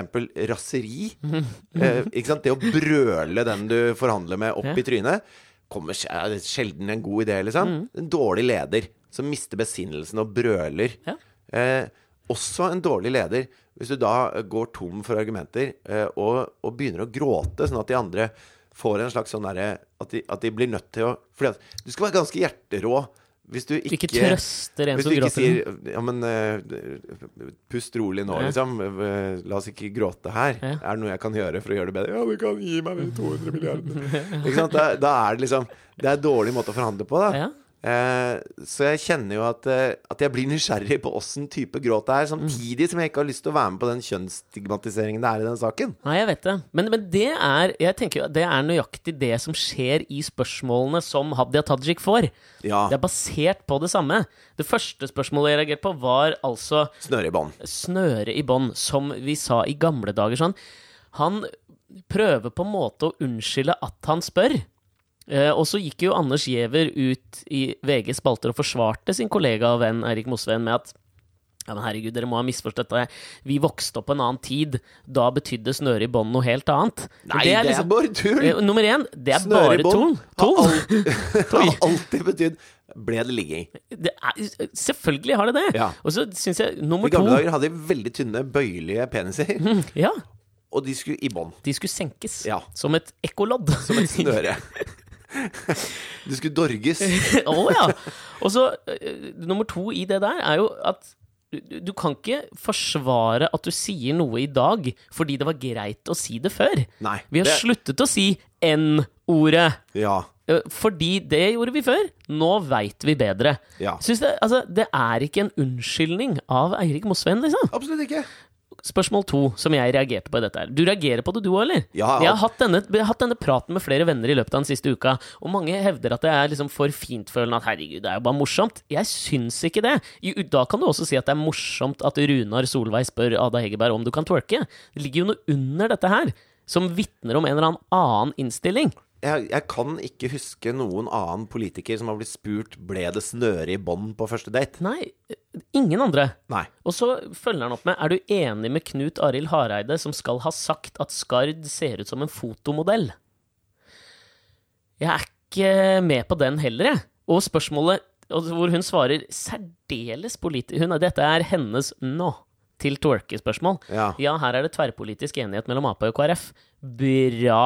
Speaker 2: raseri. Eh, ikke sant? Det å brøle den du forhandler med, opp
Speaker 1: Ja.
Speaker 2: i trynet, kommer sj- er det sjelden en god idé, liksom. En dårlig leder som mister besinnelsen og brøler.
Speaker 1: Ja.
Speaker 2: Eh, også en dårlig leder, hvis du da eh, går tom for argumenter eh, og, og begynner å gråte, sånn at de andre får en slags sånn derre at, de- at de blir nødt til å Fordi at du skal være ganske hjerterå hvis du ikke,
Speaker 1: Ikke trøster en
Speaker 2: hvis
Speaker 1: som
Speaker 2: du ikke
Speaker 1: gråter.
Speaker 2: sier Ja, men eh, pust rolig nå,
Speaker 1: Ja.
Speaker 2: liksom. Eh, La oss ikke gråte her.
Speaker 1: Ja.
Speaker 2: Er det noe jeg kan gjøre for å gjøre det bedre? Ja, du kan gi meg de 200 milliardene.
Speaker 1: [LAUGHS]
Speaker 2: ikke sant? Da, da er det liksom Det er en dårlig måte å forhandle på, da.
Speaker 1: Ja.
Speaker 2: Eh, så jeg kjenner jo at, eh, at jeg blir nysgjerrig på åssen type
Speaker 1: Mm.
Speaker 2: gråt det er, samtidig som jeg ikke har lyst til å være med på den kjønnsstigmatiseringen det er i den saken.
Speaker 1: Nei, jeg vet det. Men, men det, er, jeg tenker, jo at det er nøyaktig det som skjer i spørsmålene som Hadia Tajik får.
Speaker 2: Ja.
Speaker 1: Det er basert på det samme. Det første spørsmålet jeg reagerte på, var altså
Speaker 2: Snøre i bånd.
Speaker 1: snøre i bånd, som vi sa i gamle dager. Sånn. Han prøver på en måte å unnskylde at han spør. Eh, og så gikk jo Anders Giæver ut i VGs spalter og forsvarte sin kollega og venn Eirik Mosveen med at ja, men herregud, dere må ha misforstått det. Vi vokste opp på en annen tid. Da betydde snøre i bånd noe helt annet. Men
Speaker 2: Nei, det er,
Speaker 1: liksom-
Speaker 2: bare tull!
Speaker 1: Eh, Nummer én, det er
Speaker 2: Snøre i
Speaker 1: bare tull.
Speaker 2: bånd har
Speaker 1: Tull.
Speaker 2: alltid,
Speaker 1: [LAUGHS]
Speaker 2: [LAUGHS] har alltid betydd Ble det ligging?
Speaker 1: Det er, selvfølgelig har det det.
Speaker 2: Ja.
Speaker 1: Og så syns jeg nummer
Speaker 2: I gamle
Speaker 1: to
Speaker 2: dager hadde de veldig tynne, bøyelige peniser,
Speaker 1: ja,
Speaker 2: og de skulle i bånd.
Speaker 1: De skulle senkes.
Speaker 2: Ja.
Speaker 1: Som et ekkolodd.
Speaker 2: Som et snøre. [LAUGHS] Du skulle dorges.
Speaker 1: [LAUGHS] Å ja! Og så eh, nummer to i det der er jo at du, du kan ikke forsvare at du sier noe i dag fordi det var greit å si det før.
Speaker 2: Nei.
Speaker 1: Vi har
Speaker 2: det-
Speaker 1: sluttet å si N-ordet.
Speaker 2: Ja.
Speaker 1: eh, Fordi det gjorde vi før. Nå veit vi bedre.
Speaker 2: Ja.
Speaker 1: Syns det, altså, det er ikke en unnskyldning av Eirik Mosveen, liksom.
Speaker 2: Absolutt ikke.
Speaker 1: Spørsmål to, som jeg reagerte på i dette her. Du reagerer på det du òg, eller?
Speaker 2: Ja,
Speaker 1: jeg,
Speaker 2: ja.
Speaker 1: har hatt denne, jeg har hatt denne praten med flere venner i løpet av den siste uka, og mange hevder at det er liksom for fintfølende at herregud, det er jo bare morsomt. Jeg syns ikke det. I, da kan du også si at det er morsomt at Runar Solveig spør Ada Hegerberg om du kan twerke. Det ligger jo noe under dette her, som vitner om en eller annen annen innstilling.
Speaker 2: jeg, jeg kan ikke huske noen annen politiker som har blitt spurt Ble det snøre i bånd på første date.
Speaker 1: Nei, ingen andre.
Speaker 2: Nei.
Speaker 1: Og så følger han opp med Er du enig med Knut Arild Hareide, som skal ha sagt at Skard ser ut som en fotomodell? Jeg er ikke med på den heller, jeg. Og spørsmålet og hvor hun svarer særdeles politisk hun, Dette er hennes nå til twerke-spørsmål.
Speaker 2: Ja.
Speaker 1: ja, her er det tverrpolitisk enighet mellom Ap og KrF. Bra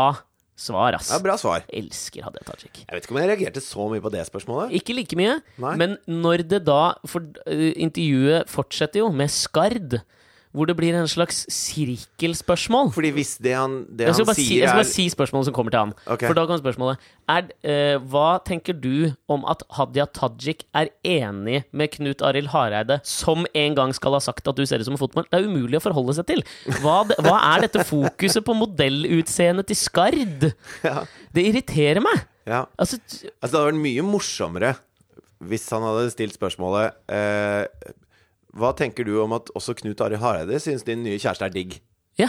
Speaker 1: svar, ass.
Speaker 2: Det er bra svar.
Speaker 1: Elsker Hadia Tajik.
Speaker 2: Jeg vet ikke om jeg reagerte så mye på det spørsmålet.
Speaker 1: Ikke like mye,
Speaker 2: Nei.
Speaker 1: men når det da For eh, intervjuet fortsetter jo med skard, hvor det blir en slags sirkelspørsmål.
Speaker 2: Fordi hvis det han, det
Speaker 1: Jeg skal,
Speaker 2: han
Speaker 1: bare si, jeg
Speaker 2: sier
Speaker 1: skal
Speaker 2: er
Speaker 1: bare si spørsmålet som kommer til han.
Speaker 2: Ok.
Speaker 1: For da kommer spørsmålet er, eh, Hva tenker du om at Hadia Tajik er enig med Knut Arild Hareide, som en gang skal ha sagt at du ser ut som en fotball? Det er umulig å forholde seg til. Hva, det- hva er dette fokuset på modellutseendet til Skard?
Speaker 2: [LAUGHS] Ja.
Speaker 1: Det irriterer meg.
Speaker 2: ja.
Speaker 1: Altså,
Speaker 2: Altså, det hadde vært mye morsommere hvis han hadde stilt spørsmålet eh, Hva tenker du om at også Knut Arild Hareide syns din nye kjæreste er digg?
Speaker 1: ja.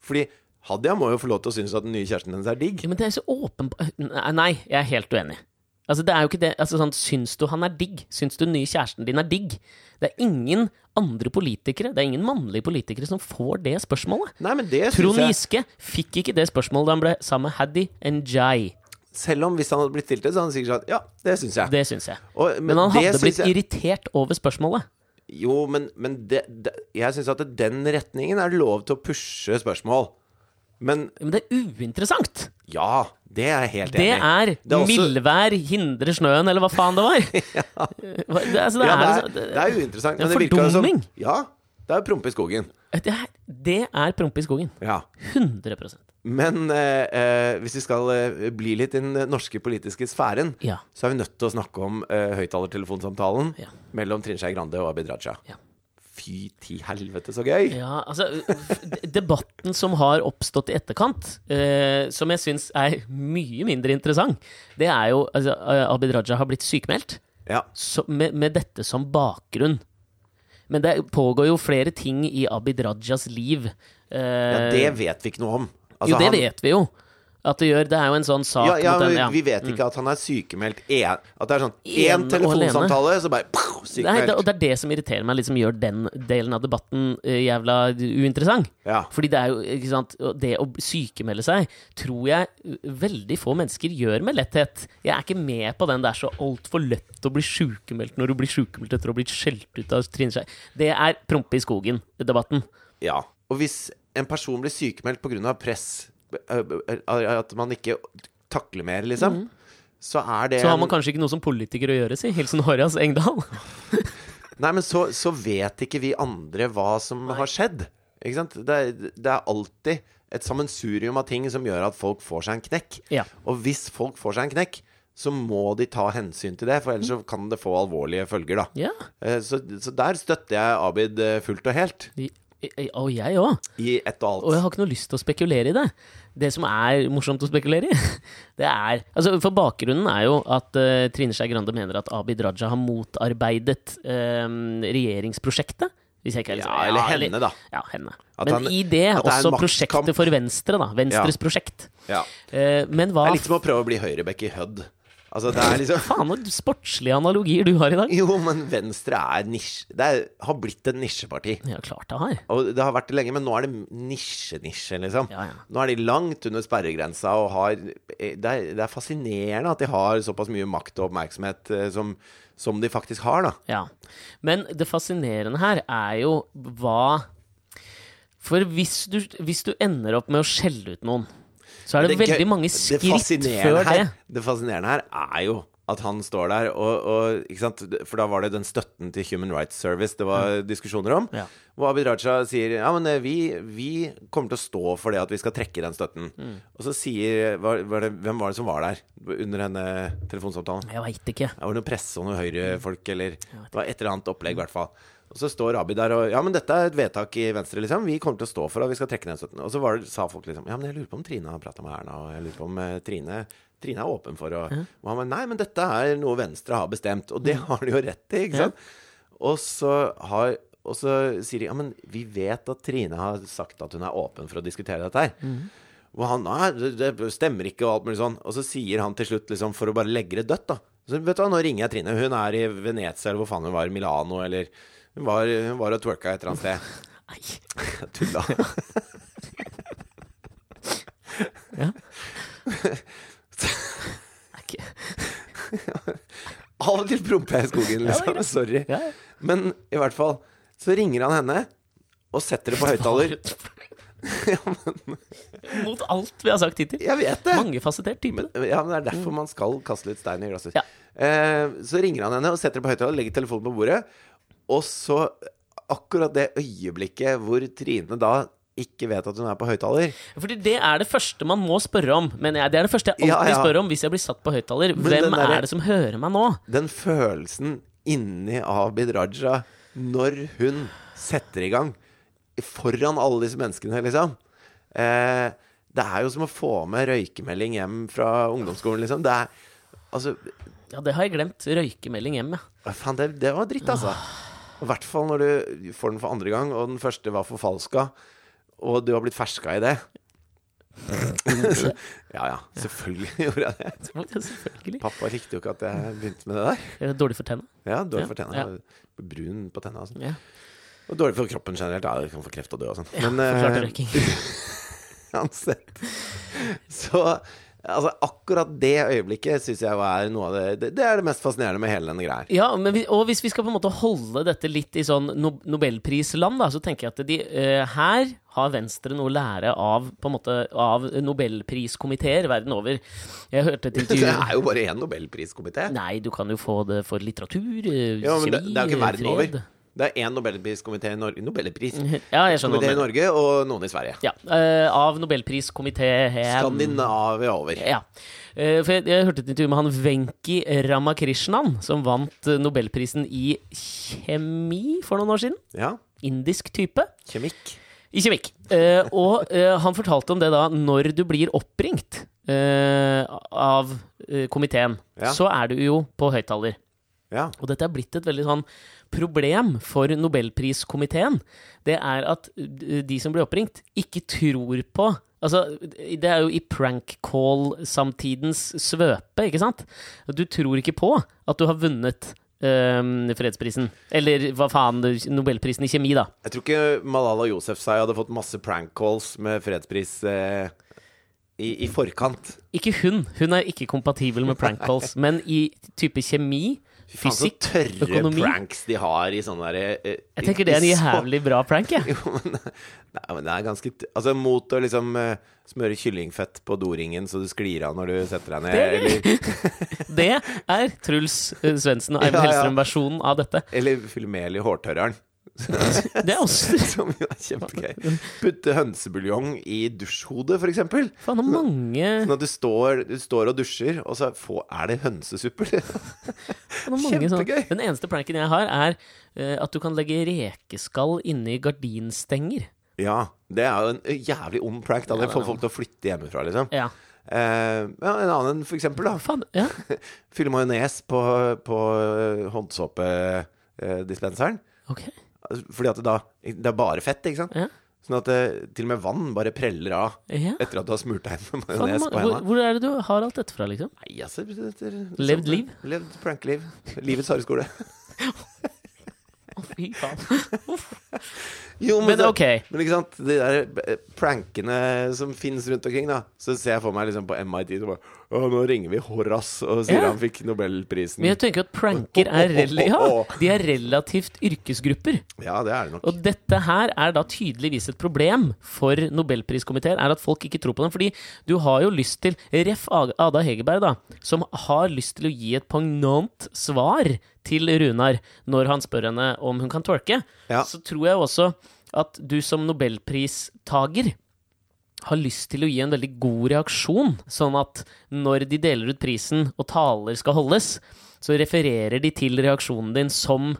Speaker 2: Fordi Hadia må jo få lov til å synes at den nye kjæresten hennes er digg.
Speaker 1: Ja, men det er så åpenbart Nei, jeg er helt uenig. Altså, det er jo ikke det altså, sånn, Syns du han er digg? Syns du den nye kjæresten din er digg? Det er ingen andre politikere, det er ingen mannlige politikere som får det spørsmålet.
Speaker 2: Nei, men det
Speaker 1: Trond
Speaker 2: synes jeg
Speaker 1: Giske fikk ikke det spørsmålet da han ble sammen med Haddy Njay.
Speaker 2: Selv om hvis han hadde blitt stilt det, så hadde han sikkert sagt ja, det syns jeg.
Speaker 1: Det syns jeg.
Speaker 2: Og-
Speaker 1: Men han
Speaker 2: det
Speaker 1: hadde
Speaker 2: synes
Speaker 1: blitt
Speaker 2: jeg-
Speaker 1: irritert over spørsmålet.
Speaker 2: Jo, men, men det, det, jeg syns at den retningen er det lov til å pushe spørsmål. Men
Speaker 1: Men det er uinteressant!
Speaker 2: ja, det er jeg helt
Speaker 1: Det
Speaker 2: enig i.
Speaker 1: er,
Speaker 2: Det er også-
Speaker 1: mildvær hindrer snøen, eller hva faen
Speaker 2: [LAUGHS]
Speaker 1: det var. Hva- det, altså, det
Speaker 2: Ja, det,
Speaker 1: er,
Speaker 2: er, det er uinteressant.
Speaker 1: det er
Speaker 2: men det virker jo som-
Speaker 1: fordumming.
Speaker 2: Ja, det er prompe i skogen.
Speaker 1: det er, det er prompe i skogen.
Speaker 2: Ja.
Speaker 1: 100
Speaker 2: Men eh, eh, hvis vi skal eh, bli litt i den norske politiske sfæren,
Speaker 1: Ja.
Speaker 2: så er vi nødt til å snakke om eh, høyttalertelefonsamtalen
Speaker 1: Ja.
Speaker 2: mellom Trine Skei Grande og Abid Raja.
Speaker 1: Ja.
Speaker 2: Fy til helvete, så gøy!
Speaker 1: Ja, altså d- Debatten som har oppstått i etterkant, eh, som jeg syns er mye mindre interessant, det er jo altså, eh, Abid Raja har blitt sykemeldt
Speaker 2: Ja.
Speaker 1: så, med, med dette som bakgrunn. Men det pågår jo flere ting i Abid Rajas liv.
Speaker 2: ja,
Speaker 1: Eh,
Speaker 2: det vet vi ikke noe om. Altså,
Speaker 1: jo, det
Speaker 2: han-
Speaker 1: vet vi jo. At det gjør. Det er jo en sånn sak
Speaker 2: Ja, ja,
Speaker 1: mot den. Mm.
Speaker 2: men vi vet ikke at han er sykemeldt en, At det er sånn
Speaker 1: En
Speaker 2: én
Speaker 1: og
Speaker 2: telefonsamtale, så bare pow,
Speaker 1: Nei, det, og
Speaker 2: sykemeldt.
Speaker 1: det er det som irriterer meg, liksom gjør den delen av debatten eh, jævla uinteressant.
Speaker 2: Ja.
Speaker 1: Fordi det er jo, ikke sant, og det å sykemelde seg tror jeg eh, veldig få mennesker gjør med letthet. Jeg er ikke med på den det er så altfor lett å bli sykemeldt når du blir sykemeldt etter å ha blitt skjelt ut av Trine Skei. Det er prompe i skogen-debatten.
Speaker 2: Ja. Og hvis en person blir sykemeldt pga. press, ø, ø, ø, at man ikke takler mer, liksom, så er det
Speaker 1: Mm. Så har
Speaker 2: en-
Speaker 1: man kanskje ikke noe som politiker å gjøre, si. Hilsen Horas Engdahl.
Speaker 2: Nei, men så, så vet ikke vi andre hva som har skjedd. Ikke sant? Det, er- det er alltid et sammensurium av ting som gjør at folk får seg en knekk.
Speaker 1: Ja.
Speaker 2: Og hvis folk får seg en knekk, så må de ta hensyn til det, for ellers
Speaker 1: Mm.
Speaker 2: så kan det få alvorlige følger, da.
Speaker 1: Ja.
Speaker 2: Eh, Så, så der støtter jeg Abid eh, fullt og helt.
Speaker 1: I- i- Og jeg òg.
Speaker 2: I ett og alt.
Speaker 1: Og jeg har ikke noe lyst til å spekulere i det. Det som er morsomt å spekulere i, [LAUGHS] det er altså For bakgrunnen er jo at eh, Trine Skei Grande mener at Abid Raja har motarbeidet eh, regjeringsprosjektet. Hvis jeg ikke er liksom,
Speaker 2: Ja, eller henne, da.
Speaker 1: Ja, henne.
Speaker 2: At
Speaker 1: Men
Speaker 2: han-
Speaker 1: i det
Speaker 2: at det er en
Speaker 1: også
Speaker 2: maktkamp.
Speaker 1: prosjektet for Venstre, da. Venstres prosjekt.
Speaker 2: Ja.
Speaker 1: Eh, men hva
Speaker 2: Det er litt som å prøve å bli høyrebekk i Hødd. Altså, det er liksom [LAUGHS]
Speaker 1: faen for sportslige analogier du har i dag?
Speaker 2: Jo, men Venstre er nisje Det er, har blitt et nisjeparti.
Speaker 1: Ja, klart det har.
Speaker 2: Og det har vært det lenge, men nå er det nisje-nisje, liksom.
Speaker 1: Ja, ja.
Speaker 2: Nå er de langt under sperregrensa og har Det er, det er fascinerende at de har såpass mye makt og oppmerksomhet eh, som, som de faktisk har, da.
Speaker 1: Ja. Men det fascinerende her er jo hva For hvis du, hvis du ender opp med å skjelle ut noen, så er det,
Speaker 2: gøy-
Speaker 1: veldig mange
Speaker 2: det
Speaker 1: skritt
Speaker 2: fascinerende
Speaker 1: før det.
Speaker 2: her, Det fascinerende her er jo at han står der og, og ikke sant? For da var det den støtten til Human Rights Service det var diskusjoner om.
Speaker 1: Ja.
Speaker 2: Hvor Abid Raja sier ja, men eh, vi, vi kommer til å stå for det at vi skal trekke den støtten.
Speaker 1: Mm.
Speaker 2: Og så sier var, var det, Hvem var det som var der under denne telefonsamtalen?
Speaker 1: Jeg veit ikke.
Speaker 2: Det var noe presse og noen høyrefolk, eller det var et eller annet opplegg, i hvert fall. Og så står Abid der og Ja, men dette er et vedtak i Venstre, liksom. Vi kommer til å stå for at vi skal trekke ned støtten. Og så var det, sa folk liksom Ja, men jeg lurer på om Trine har prata med Erna, og jeg lurer på om eh, Trine Trine er åpen for å Og han var Nei, men dette er noe Venstre har bestemt. Og det har de jo rett i, ikke sant? Og så har og så sier de ja, men vi vet at Trine har sagt at hun er åpen for å diskutere dette her. Hvor han Nei, det, det stemmer ikke, og alt mulig sånn. Og så sier han til slutt, liksom, for å bare legge det dødt, da Så vet du hva, nå ringer jeg Trine. Hun er i Venezia, eller hvor faen hun var, i Milano, eller Hun var, hun var og twerka et eller annet sted.
Speaker 1: Nei.
Speaker 2: [LAUGHS] Jeg tulla.
Speaker 1: [LAUGHS] Ja. Er ikke-
Speaker 2: Av og til promper jeg i skogen, liksom. Sorry.
Speaker 1: Ja, ja.
Speaker 2: Men i hvert fall, så ringer han henne og setter det på høyttaler.
Speaker 1: [LAUGHS] Mot alt vi har sagt hittil.
Speaker 2: Jeg vet det!
Speaker 1: Mangefasettert type.
Speaker 2: Men- Ja, men Det er derfor man skal kaste litt stein i glasshus.
Speaker 1: Ja.
Speaker 2: Eh, så ringer han henne og setter det på høyttaler, legger telefonen på bordet. Og så, akkurat det øyeblikket hvor Trine da ikke vet at hun er på høyttaler
Speaker 1: Fordi det er det første man må spørre om. Men jeg, det er det første jeg alltid
Speaker 2: Ja, ja.
Speaker 1: spør om hvis jeg blir satt på høyttaler.
Speaker 2: Men den
Speaker 1: Hvem
Speaker 2: derre-
Speaker 1: er det som hører meg nå?
Speaker 2: Den følelsen inni Abid Raja når hun setter i gang foran alle disse menneskene, liksom. Eh, det er jo som å få med røykemelding hjem fra ungdomsskolen, liksom. Det er Altså,
Speaker 1: Ja, det har jeg glemt. Røykemelding hjem, ja.
Speaker 2: Hva Faen, det, det var dritt, altså.
Speaker 1: Ah.
Speaker 2: I hvert fall når du får den for andre gang, og den første var forfalska, og du har blitt
Speaker 1: [LAUGHS]
Speaker 2: ferska i det. ja ja, selvfølgelig [LAUGHS] gjorde jeg det.
Speaker 1: [LAUGHS] Selvfølgelig.
Speaker 2: Pappa likte jo ikke at jeg begynte med det der.
Speaker 1: Er det Dårlig for tenna.
Speaker 2: Ja, Dårlig
Speaker 1: Ja,
Speaker 2: for tenna. Brun på tenna. og sånn.
Speaker 1: Ja.
Speaker 2: Og dårlig for kroppen generelt. Ja, du kan få kreft og dø og sånn.
Speaker 1: Forklarte
Speaker 2: Men
Speaker 1: røyking.
Speaker 2: eh, uansett [LAUGHS] Så altså, akkurat det øyeblikket syns jeg er noe av det, det Det er det mest fascinerende med hele denne greia. her.
Speaker 1: Ja, men vi, og hvis vi skal på en måte holde dette litt i sånn no nobelprisland, da, så tenker jeg at de, eh, her har Venstre noe å lære av, på en måte, av nobelpriskomiteer verden over. Jeg hørte et
Speaker 2: [LAUGHS] Det
Speaker 1: intervju
Speaker 2: er jo bare én nobelpriskomité.
Speaker 1: Nei, du kan jo få det for litteratur, eh,
Speaker 2: Ja,
Speaker 1: kjemi,
Speaker 2: men det, det er jo ikke verden
Speaker 1: fred. [LAUGHS] Sånn
Speaker 2: over. Det er én nobelpriskomité i Norge Nobelpris?
Speaker 1: Ja, jeg skjønner hva du
Speaker 2: Komité i
Speaker 1: mener.
Speaker 2: Norge og noen i Sverige.
Speaker 1: Ja, eh, av nobelpriskomité
Speaker 2: Skandinavia over.
Speaker 1: Ja. Eh, For jeg, jeg hørte et intervju med han Venki Ramakrishnan, som vant eh, nobelprisen i kjemi for noen år siden.
Speaker 2: Ja.
Speaker 1: Indisk type.
Speaker 2: Kjemikk.
Speaker 1: I kjemikk. Eh, og eh, han fortalte om det da når du blir oppringt eh, av eh, komiteen,
Speaker 2: Ja.
Speaker 1: så er du jo på høyttaler.
Speaker 2: Ja.
Speaker 1: Og dette er blitt et veldig sånn problem for nobelpriskomiteen. Det er at eh, de som blir oppringt, ikke tror på Altså, det er jo i prank call-samtidens svøpe, ikke sant? Du tror ikke på at du har vunnet eh, fredsprisen. Eller hva faen, nobelprisen i kjemi, da.
Speaker 2: Jeg tror ikke Malala Yousefzai hadde fått masse prank calls med fredspris eh, i, i forkant.
Speaker 1: Ikke hun. Hun er ikke kompatibel med prank
Speaker 2: [LAUGHS]
Speaker 1: calls. men i type kjemi,
Speaker 2: Faen, så
Speaker 1: fysikk,
Speaker 2: tørre
Speaker 1: økonomi
Speaker 2: pranks de har i sånne derre eh,
Speaker 1: Jeg tenker det er en
Speaker 2: i [LAUGHS] så-
Speaker 1: jævlig bra prank, jeg.
Speaker 2: Jo, men, nei, men det er ganske t- Altså, mot å liksom eh, smøre kyllingfett på doringen så du sklir av når du setter deg ned, eller
Speaker 1: Det er Truls eh, Svendsen og Eivind
Speaker 2: [LAUGHS] Ja, ja.
Speaker 1: Hellstrøm-versjonen av dette.
Speaker 2: Eller fylle mel i hårtørreren.
Speaker 1: Det er også
Speaker 2: [LAUGHS] Som jo er kjempegøy. Putte hønsebuljong i dusjhodet, for eksempel.
Speaker 1: Faen, det er mange,
Speaker 2: Sånn at du står, du står og dusjer, og så få- er det hønsesupper.
Speaker 1: faen, det er mange sånn.
Speaker 2: kjempegøy.
Speaker 1: Den eneste pranken jeg har, er eh, at du kan legge rekeskall inni gardinstenger.
Speaker 2: [LAUGHS] ja, det er jo en jævlig ond prank. Da. Det
Speaker 1: Ja, det
Speaker 2: får
Speaker 1: er
Speaker 2: folk til å flytte hjemmefra, liksom.
Speaker 1: Ja.
Speaker 2: Eh, ja, en annen, for eksempel, da.
Speaker 1: Faen, ja.
Speaker 2: Fylle majones på, på eh, håndsåpedispenseren.
Speaker 1: Ok.
Speaker 2: Fordi at det da Det er bare fett, ikke sant?
Speaker 1: Ja.
Speaker 2: Sånn at eh, til og med vann bare preller av
Speaker 1: Ja.
Speaker 2: etter at du har smurt deg med
Speaker 1: Faen, det er
Speaker 2: majones
Speaker 1: mange-
Speaker 2: på
Speaker 1: hvor,
Speaker 2: henda.
Speaker 1: hvor er det du har alt dette fra, liksom?
Speaker 2: Nei, altså etter,
Speaker 1: Levd liv?
Speaker 2: Levd prankeliv. Livets harde skole.
Speaker 1: Å, fy faen. [LAUGHS]
Speaker 2: Jo,
Speaker 1: Men
Speaker 2: så-
Speaker 1: ok.
Speaker 2: Men ikke sant, de der eh, prankene som finnes rundt omkring, da. Så ser jeg for meg liksom på MIT så bare Å, nå ringer vi Horace og sier
Speaker 1: Ja.
Speaker 2: han fikk Nobelprisen.
Speaker 1: Men jeg tenker at pranker er, rel ja, de er relativt yrkesgrupper.
Speaker 2: Ja, det er det nok.
Speaker 1: Og dette her er da tydeligvis et problem for nobelpriskomiteen, er at folk ikke tror på dem. Fordi du har jo lyst til Ref. Ag- Ada Hegerberg, da, som har lyst til å gi et pognant svar til Runar når han spør henne om hun kan twerke.
Speaker 2: Ja.
Speaker 1: Så tror jeg også at du som nobelpristager har lyst til å gi en veldig god reaksjon, sånn at når de deler ut prisen og taler skal holdes, så refererer de til reaksjonen din som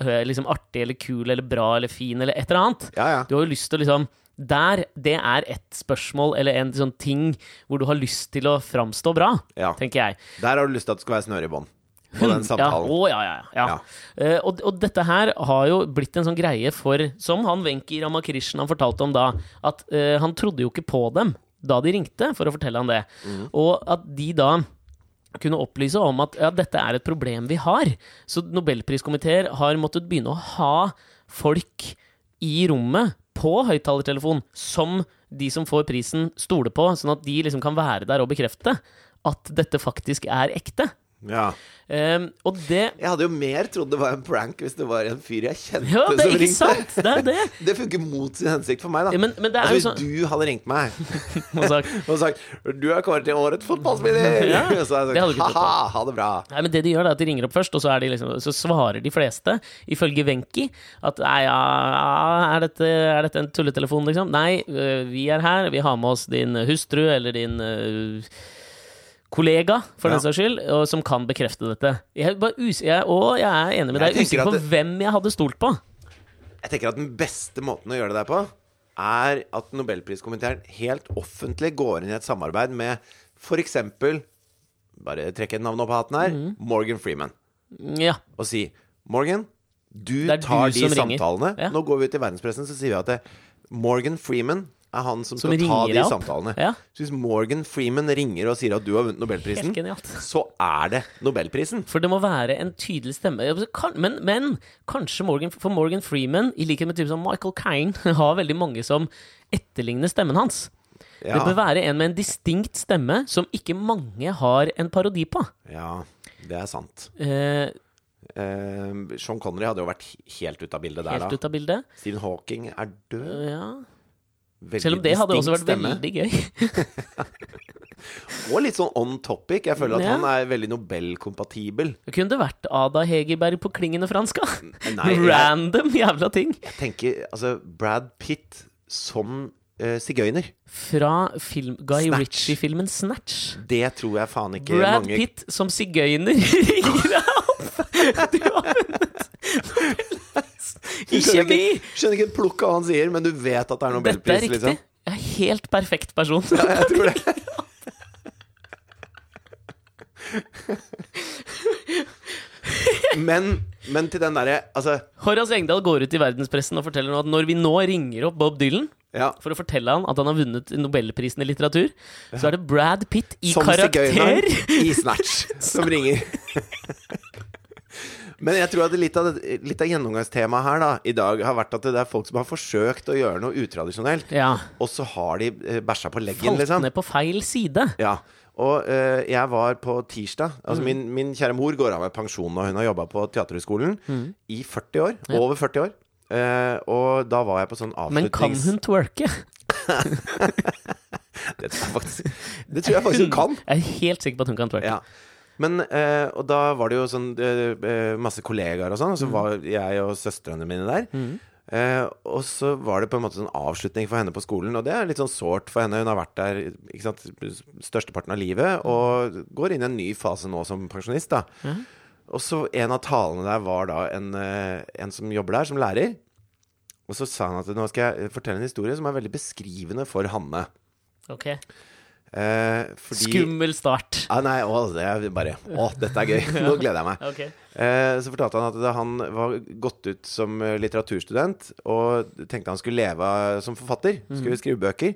Speaker 1: eh, liksom artig eller kul eller bra eller fin eller et eller annet.
Speaker 2: Ja, ja.
Speaker 1: Du har jo lyst til å liksom der, Det er ett spørsmål eller en sånn ting hvor du har lyst til å framstå bra,
Speaker 2: ja.
Speaker 1: tenker jeg.
Speaker 2: Der har du lyst til at det skal være snøre i bånd. På den
Speaker 1: Ja,
Speaker 2: samtalen.
Speaker 1: å, ja, ja, ja.
Speaker 2: Ja.
Speaker 1: Eh, og, og dette her har jo blitt en sånn greie for Som han Wenki Ramakrishnan fortalte om da, at eh, han trodde jo ikke på dem da de ringte for å fortelle han det.
Speaker 2: Mm.
Speaker 1: Og at de da kunne opplyse om at ja, dette er et problem vi har. Så nobelpriskomiteer har måttet begynne å ha folk i rommet på høyttalertelefon som de som får prisen, stoler på, sånn at de liksom kan være der og bekrefte at dette faktisk er ekte.
Speaker 2: Ja.
Speaker 1: Ehm, og det
Speaker 2: Jeg hadde jo mer trodd det var en prank hvis det var en fyr jeg kjente
Speaker 1: Ja, det
Speaker 2: som
Speaker 1: er ikke
Speaker 2: ringte.
Speaker 1: sant! Det er det.
Speaker 2: [LAUGHS] Det funker mot sin hensikt for meg, da.
Speaker 1: Ja, men, men det er
Speaker 2: altså,
Speaker 1: jo
Speaker 2: hvis
Speaker 1: sånn
Speaker 2: du hadde ringt meg
Speaker 1: Hva sak?
Speaker 2: og sagt 'Du er kåret til årets fotballspiller',
Speaker 1: Ja,
Speaker 2: og [LAUGHS] så hadde
Speaker 1: det hadde
Speaker 2: jeg
Speaker 1: du ikke trodd på.
Speaker 2: sagt 'ha-ha, ha det bra'.
Speaker 1: Nei, men det de gjør, er at de ringer opp først, og så, er de liksom, så svarer de fleste, ifølge Wenki, at nei, ja, er, dette, er dette en tulletelefon, liksom? Nei, øh, vi er her, vi har med oss din hustru eller din øh, kollega, for
Speaker 2: Ja.
Speaker 1: den saks skyld, og, som kan bekrefte dette. Jeg er bare us jeg, og jeg er enig med deg,
Speaker 2: Jeg tenker
Speaker 1: usikker
Speaker 2: at
Speaker 1: på
Speaker 2: det-
Speaker 1: hvem jeg hadde stolt på.
Speaker 2: Jeg tenker at den beste måten å gjøre det der på, er at nobelpriskomiteen helt offentlig går inn i et samarbeid med f.eks. Bare trekke et navn opp av hatten her.
Speaker 1: Mhm.
Speaker 2: Morgan Freeman.
Speaker 1: Ja.
Speaker 2: Og si Morgan, du
Speaker 1: Det er du
Speaker 2: tar de
Speaker 1: som ringer.»
Speaker 2: samtalene.
Speaker 1: Ja.
Speaker 2: Nå går vi ut i verdenspressen, så sier vi at det, Morgan Freeman er han som,
Speaker 1: Som
Speaker 2: skal ta
Speaker 1: ringer
Speaker 2: de
Speaker 1: deg opp.
Speaker 2: samtalene.
Speaker 1: Ja.
Speaker 2: Så hvis Morgan Freeman ringer og sier at du har vunnet nobelprisen,
Speaker 1: Helt genialt.
Speaker 2: så er det nobelprisen.
Speaker 1: For det må være en tydelig stemme. Ja, så kan- Men, men kanskje Morgan, for Morgan Freeman, i likhet med typen som Michael Caine, [LAUGHS] har veldig mange som etterligner stemmen hans.
Speaker 2: Ja.
Speaker 1: Det bør være en med en distinkt stemme som ikke mange har en parodi på.
Speaker 2: ja, det er sant.
Speaker 1: Eh,
Speaker 2: Eh, Sean Connery hadde jo vært helt ute av bildet der, da.
Speaker 1: helt ut av bildet. Eh,
Speaker 2: Stephen Hawking er død.
Speaker 1: Ja.
Speaker 2: Veldig
Speaker 1: Selv om det hadde
Speaker 2: distinkt
Speaker 1: også vært
Speaker 2: stemme.
Speaker 1: veldig gøy. [LAUGHS]
Speaker 2: Og litt sånn on topic. Jeg føler at
Speaker 1: Ja.
Speaker 2: han er veldig Nobel-kompatibel.
Speaker 1: Kunne det vært Ada Hegerberg på klingende fransk? da?
Speaker 2: [LAUGHS] Nei, jeg,
Speaker 1: Random jævla ting!
Speaker 2: jeg tenker altså Brad Pitt som eh, sigøyner.
Speaker 1: Fra film, Guy
Speaker 2: Snatch.
Speaker 1: Ritchie-filmen Snatch.
Speaker 2: Det tror jeg faen ikke
Speaker 1: Brad
Speaker 2: mange
Speaker 1: Pitt som sigøyner ringer deg opp! Du har vunnet Nobelprisen
Speaker 2: Du
Speaker 1: i
Speaker 2: skjønner
Speaker 1: kjemi!
Speaker 2: ikke, skjønner ikke et plukk av hva han sier, men du vet at det er
Speaker 1: Dette
Speaker 2: nobelpris,
Speaker 1: er riktig.
Speaker 2: liksom.
Speaker 1: Jeg er helt perfekt person.
Speaker 2: [LAUGHS] Jeg tror det.
Speaker 1: [LAUGHS]
Speaker 2: men, men til den derre Altså,
Speaker 1: Horace Engdahl går ut i verdenspressen og forteller nå at når vi nå ringer opp Bob Dylan
Speaker 2: ja.
Speaker 1: for å fortelle han at han har vunnet nobelprisen i litteratur, så er det Brad Pitt i
Speaker 2: Som sigøyner
Speaker 1: karakter.
Speaker 2: i
Speaker 1: [LAUGHS]
Speaker 2: Snatch som ringer. Men jeg tror at litt av, det- litt av gjennomgangstemaet her da, i dag har vært at det er folk som har forsøkt å gjøre noe utradisjonelt,
Speaker 1: Ja.
Speaker 2: og så har de eh, bæsja på leggen,
Speaker 1: Falt
Speaker 2: liksom.
Speaker 1: ned på feil side.
Speaker 2: Ja. Og eh, jeg var på tirsdag Altså min,
Speaker 1: Mm.
Speaker 2: min kjære mor går av med pensjon nå. Hun har jobba på Teaterhøgskolen
Speaker 1: Mm.
Speaker 2: i 40 år. Over 40 år. Eh, og da var jeg på sånn
Speaker 1: Men kan
Speaker 2: avslutnings... [LAUGHS]
Speaker 1: hun twerke?
Speaker 2: Det tror jeg faktisk, det tror jeg faktisk Altså, hun kan.
Speaker 1: Jeg er helt sikker på at hun kan twerke.
Speaker 2: Ja. Men, eh, og da var det jo sånn eh, eh, masse kollegaer og sånn, og så var jeg og søstrene mine der. Eh, og så var det på en måte sånn avslutning for henne på skolen, og det er litt sånn sårt for henne. Hun har vært der ikke sant, størsteparten av livet, og går inn i en ny fase nå som pensjonist. da. Og så en av talene der var da en, eh, en som jobber der, som lærer. Og så sa han at nå skal jeg fortelle en historie som er veldig beskrivende for Hanne.
Speaker 1: Ok.
Speaker 2: Eh, fordi,
Speaker 1: Skummel start.
Speaker 2: Ah, nei, å, det er bare Å, dette er gøy. Nå gleder jeg meg.
Speaker 1: Ok.
Speaker 2: Eh, så fortalte han at da han var gått ut som eh, litteraturstudent og tenkte han skulle leve av- som forfatter,
Speaker 1: Mhm.
Speaker 2: skulle skrive bøker.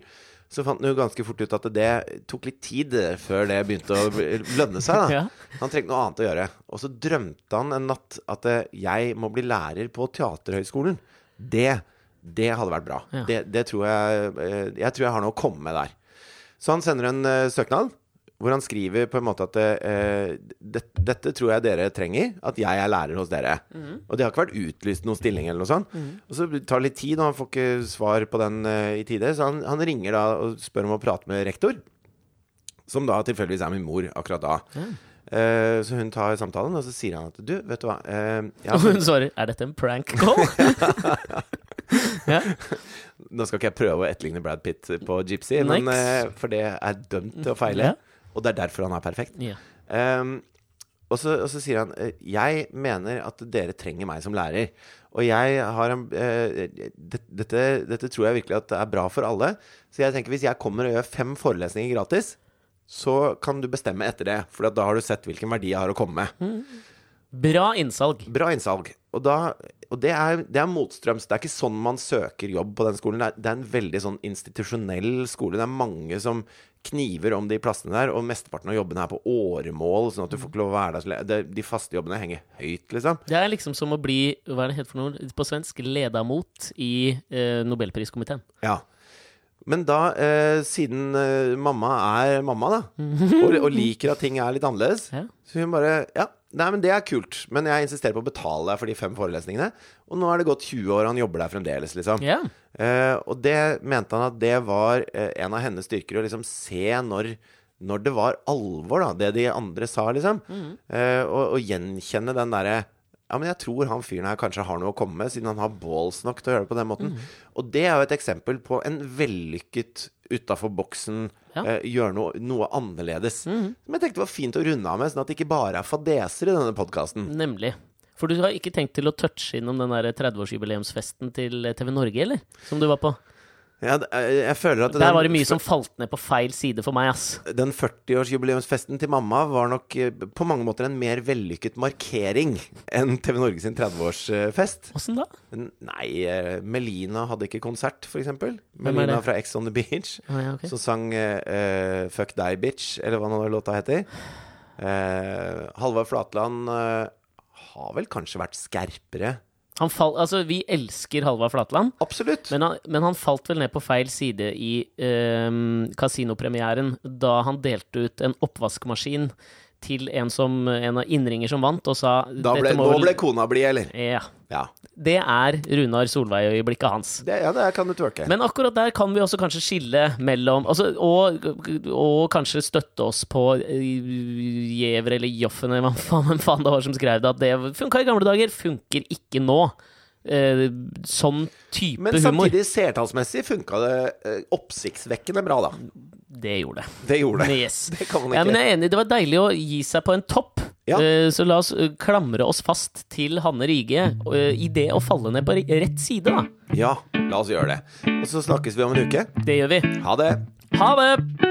Speaker 2: Så fant han jo ganske fort ut at det tok litt tid eh, før det begynte å lønne seg. Da.
Speaker 1: [LAUGHS] Ja.
Speaker 2: Han trengte noe annet å gjøre. Og så drømte han en natt at eh, jeg må bli lærer på Teaterhøgskolen. Det, det hadde vært bra.
Speaker 1: Ja.
Speaker 2: Det, det tror jeg, eh, jeg tror jeg har noe å komme med der. Så han sender en eh, søknad hvor han skriver på en måte at eh, det, dette tror jeg dere trenger, at jeg er lærer hos dere. Og det har ikke vært utlyst noen stilling eller noe sånt. Og så tar det litt tid, og han får ikke svar på den eh, i tide, så han, han ringer da og spør om å prate med rektor, som da tilfeldigvis er min mor akkurat da. Eh, så hun tar samtalen, og så sier han at du, vet du hva
Speaker 1: [LAUGHS]
Speaker 2: eh, jeg har
Speaker 1: Og hun svarer 'Er dette en prank call?'
Speaker 2: Nå skal ikke jeg prøve å etterligne Brad Pitt på Gypsy, men,
Speaker 1: Niks.
Speaker 2: eh, for det er dømt til å feile.
Speaker 1: Ja.
Speaker 2: Og det er derfor han er perfekt.
Speaker 1: ja.
Speaker 2: Ehm, og, så, og så sier han eh, Jeg mener at dere trenger meg som lærer. Og jeg har en eh, det- dette, dette tror jeg virkelig at er bra for alle. Så jeg tenker hvis jeg kommer og gjør fem forelesninger gratis, så kan du bestemme etter det. For at da har du sett hvilken verdi jeg har å komme med.
Speaker 1: Bra innsalg.
Speaker 2: Bra innsalg. Og, da, og det, er, det er motstrøms. Det er ikke sånn man søker jobb på den skolen. Det er, det er en veldig sånn institusjonell skole. Det er mange som kniver om de plassene der, og mesteparten av jobbene er på åremål, sånn at du får ikke lov å være der så lenge. Det- De faste jobbene henger høyt, liksom.
Speaker 1: Det er liksom som å bli, hva er det het for noe på svensk, ledamot i eh, nobelpriskomiteen.
Speaker 2: Ja. Men da, eh, siden eh, mamma er mamma, da, og, og liker at ting er litt annerledes,
Speaker 1: Ja.
Speaker 2: så hun bare Ja, nei, men det er kult, men jeg insisterer på å betale deg for de fem forelesningene. Og nå er det gått 20 år, og han jobber der fremdeles, liksom.
Speaker 1: Ja.
Speaker 2: Eh, og det mente han at det var eh, en av hennes styrker, å liksom se når når det var alvor, da, det de andre sa, liksom.
Speaker 1: Mm.
Speaker 2: Eh, og, og gjenkjenne den derre Ja, men jeg tror han fyren her kanskje har noe å komme med, siden han har balls nok til å gjøre det på den måten.
Speaker 1: Mm.
Speaker 2: Og det er jo et eksempel på en vellykket utafor boksen,
Speaker 1: Ja. Mm.
Speaker 2: eh, gjøre noe, noe annerledes. Som jeg tenkte var fint å runde av med, sånn at det ikke bare er fadeser i denne podkasten.
Speaker 1: Nemlig. For du har ikke tenkt til å touche innom den der 30-årsjubileumsfesten til eh, TV Norge, eller? Som du var på.
Speaker 2: Jeg, eh, jeg føler at
Speaker 1: Der
Speaker 2: den-
Speaker 1: var det mye som falt ned på feil side for meg, ass.
Speaker 2: den 40-årsjubileumsfesten til mamma var nok eh, på mange måter en mer vellykket markering enn TV Norge sin 30-årsfest.
Speaker 1: Åssen da?
Speaker 2: Men Nei, eh, Melina hadde ikke konsert, for eksempel.
Speaker 1: er
Speaker 2: Melina
Speaker 1: det?
Speaker 2: fra Ex on the Beach,
Speaker 1: Å, ja, ok.
Speaker 2: som sang eh, eh, Fuck Deg, Bitch, eller hva nå den låta heter. Eh, Halvard Flatland eh, har vel kanskje vært skerpere?
Speaker 1: Han fall, altså, vi elsker Halvard Flatland,
Speaker 2: Absolutt!
Speaker 1: men han, men han falt vel ned på feil side i ehm, kasinopremieren da han delte ut en oppvaskmaskin til en, som, en av innringer som vant, og sa
Speaker 2: da ble,
Speaker 1: «Dette må
Speaker 2: nå
Speaker 1: vel-
Speaker 2: ble kona blid, eller?
Speaker 1: Ja.
Speaker 2: Ja.
Speaker 1: Det er Runar Solveig-øyeblikket hans.
Speaker 2: Det, ja, det kan du twerke.
Speaker 1: Men akkurat der kan vi også kanskje skille mellom altså, og, og kanskje støtte oss på eh, Gjever eller Joffen eller hva faen, hvem faen det var som skrev det, at det funka i gamle dager, funker ikke nå. Eh, sånn type
Speaker 2: Men
Speaker 1: humor.
Speaker 2: samtidig, seertallsmessig funka det eh, oppsiktsvekkende bra, da.
Speaker 1: Det gjorde det.
Speaker 2: Det gjorde det.
Speaker 1: Yes.
Speaker 2: Det kan man
Speaker 1: Ja, men
Speaker 2: ikke.
Speaker 1: jeg er enig, det var deilig å gi seg på en topp.
Speaker 2: Ja.
Speaker 1: Eh, Så la oss eh, klamre oss fast til Hanne Rige eh, i det å falle ned på ri- rett side, da.
Speaker 2: Ja, la oss gjøre det. Og så snakkes vi om en uke.
Speaker 1: Det gjør vi.
Speaker 2: Ha det.
Speaker 1: Ha det!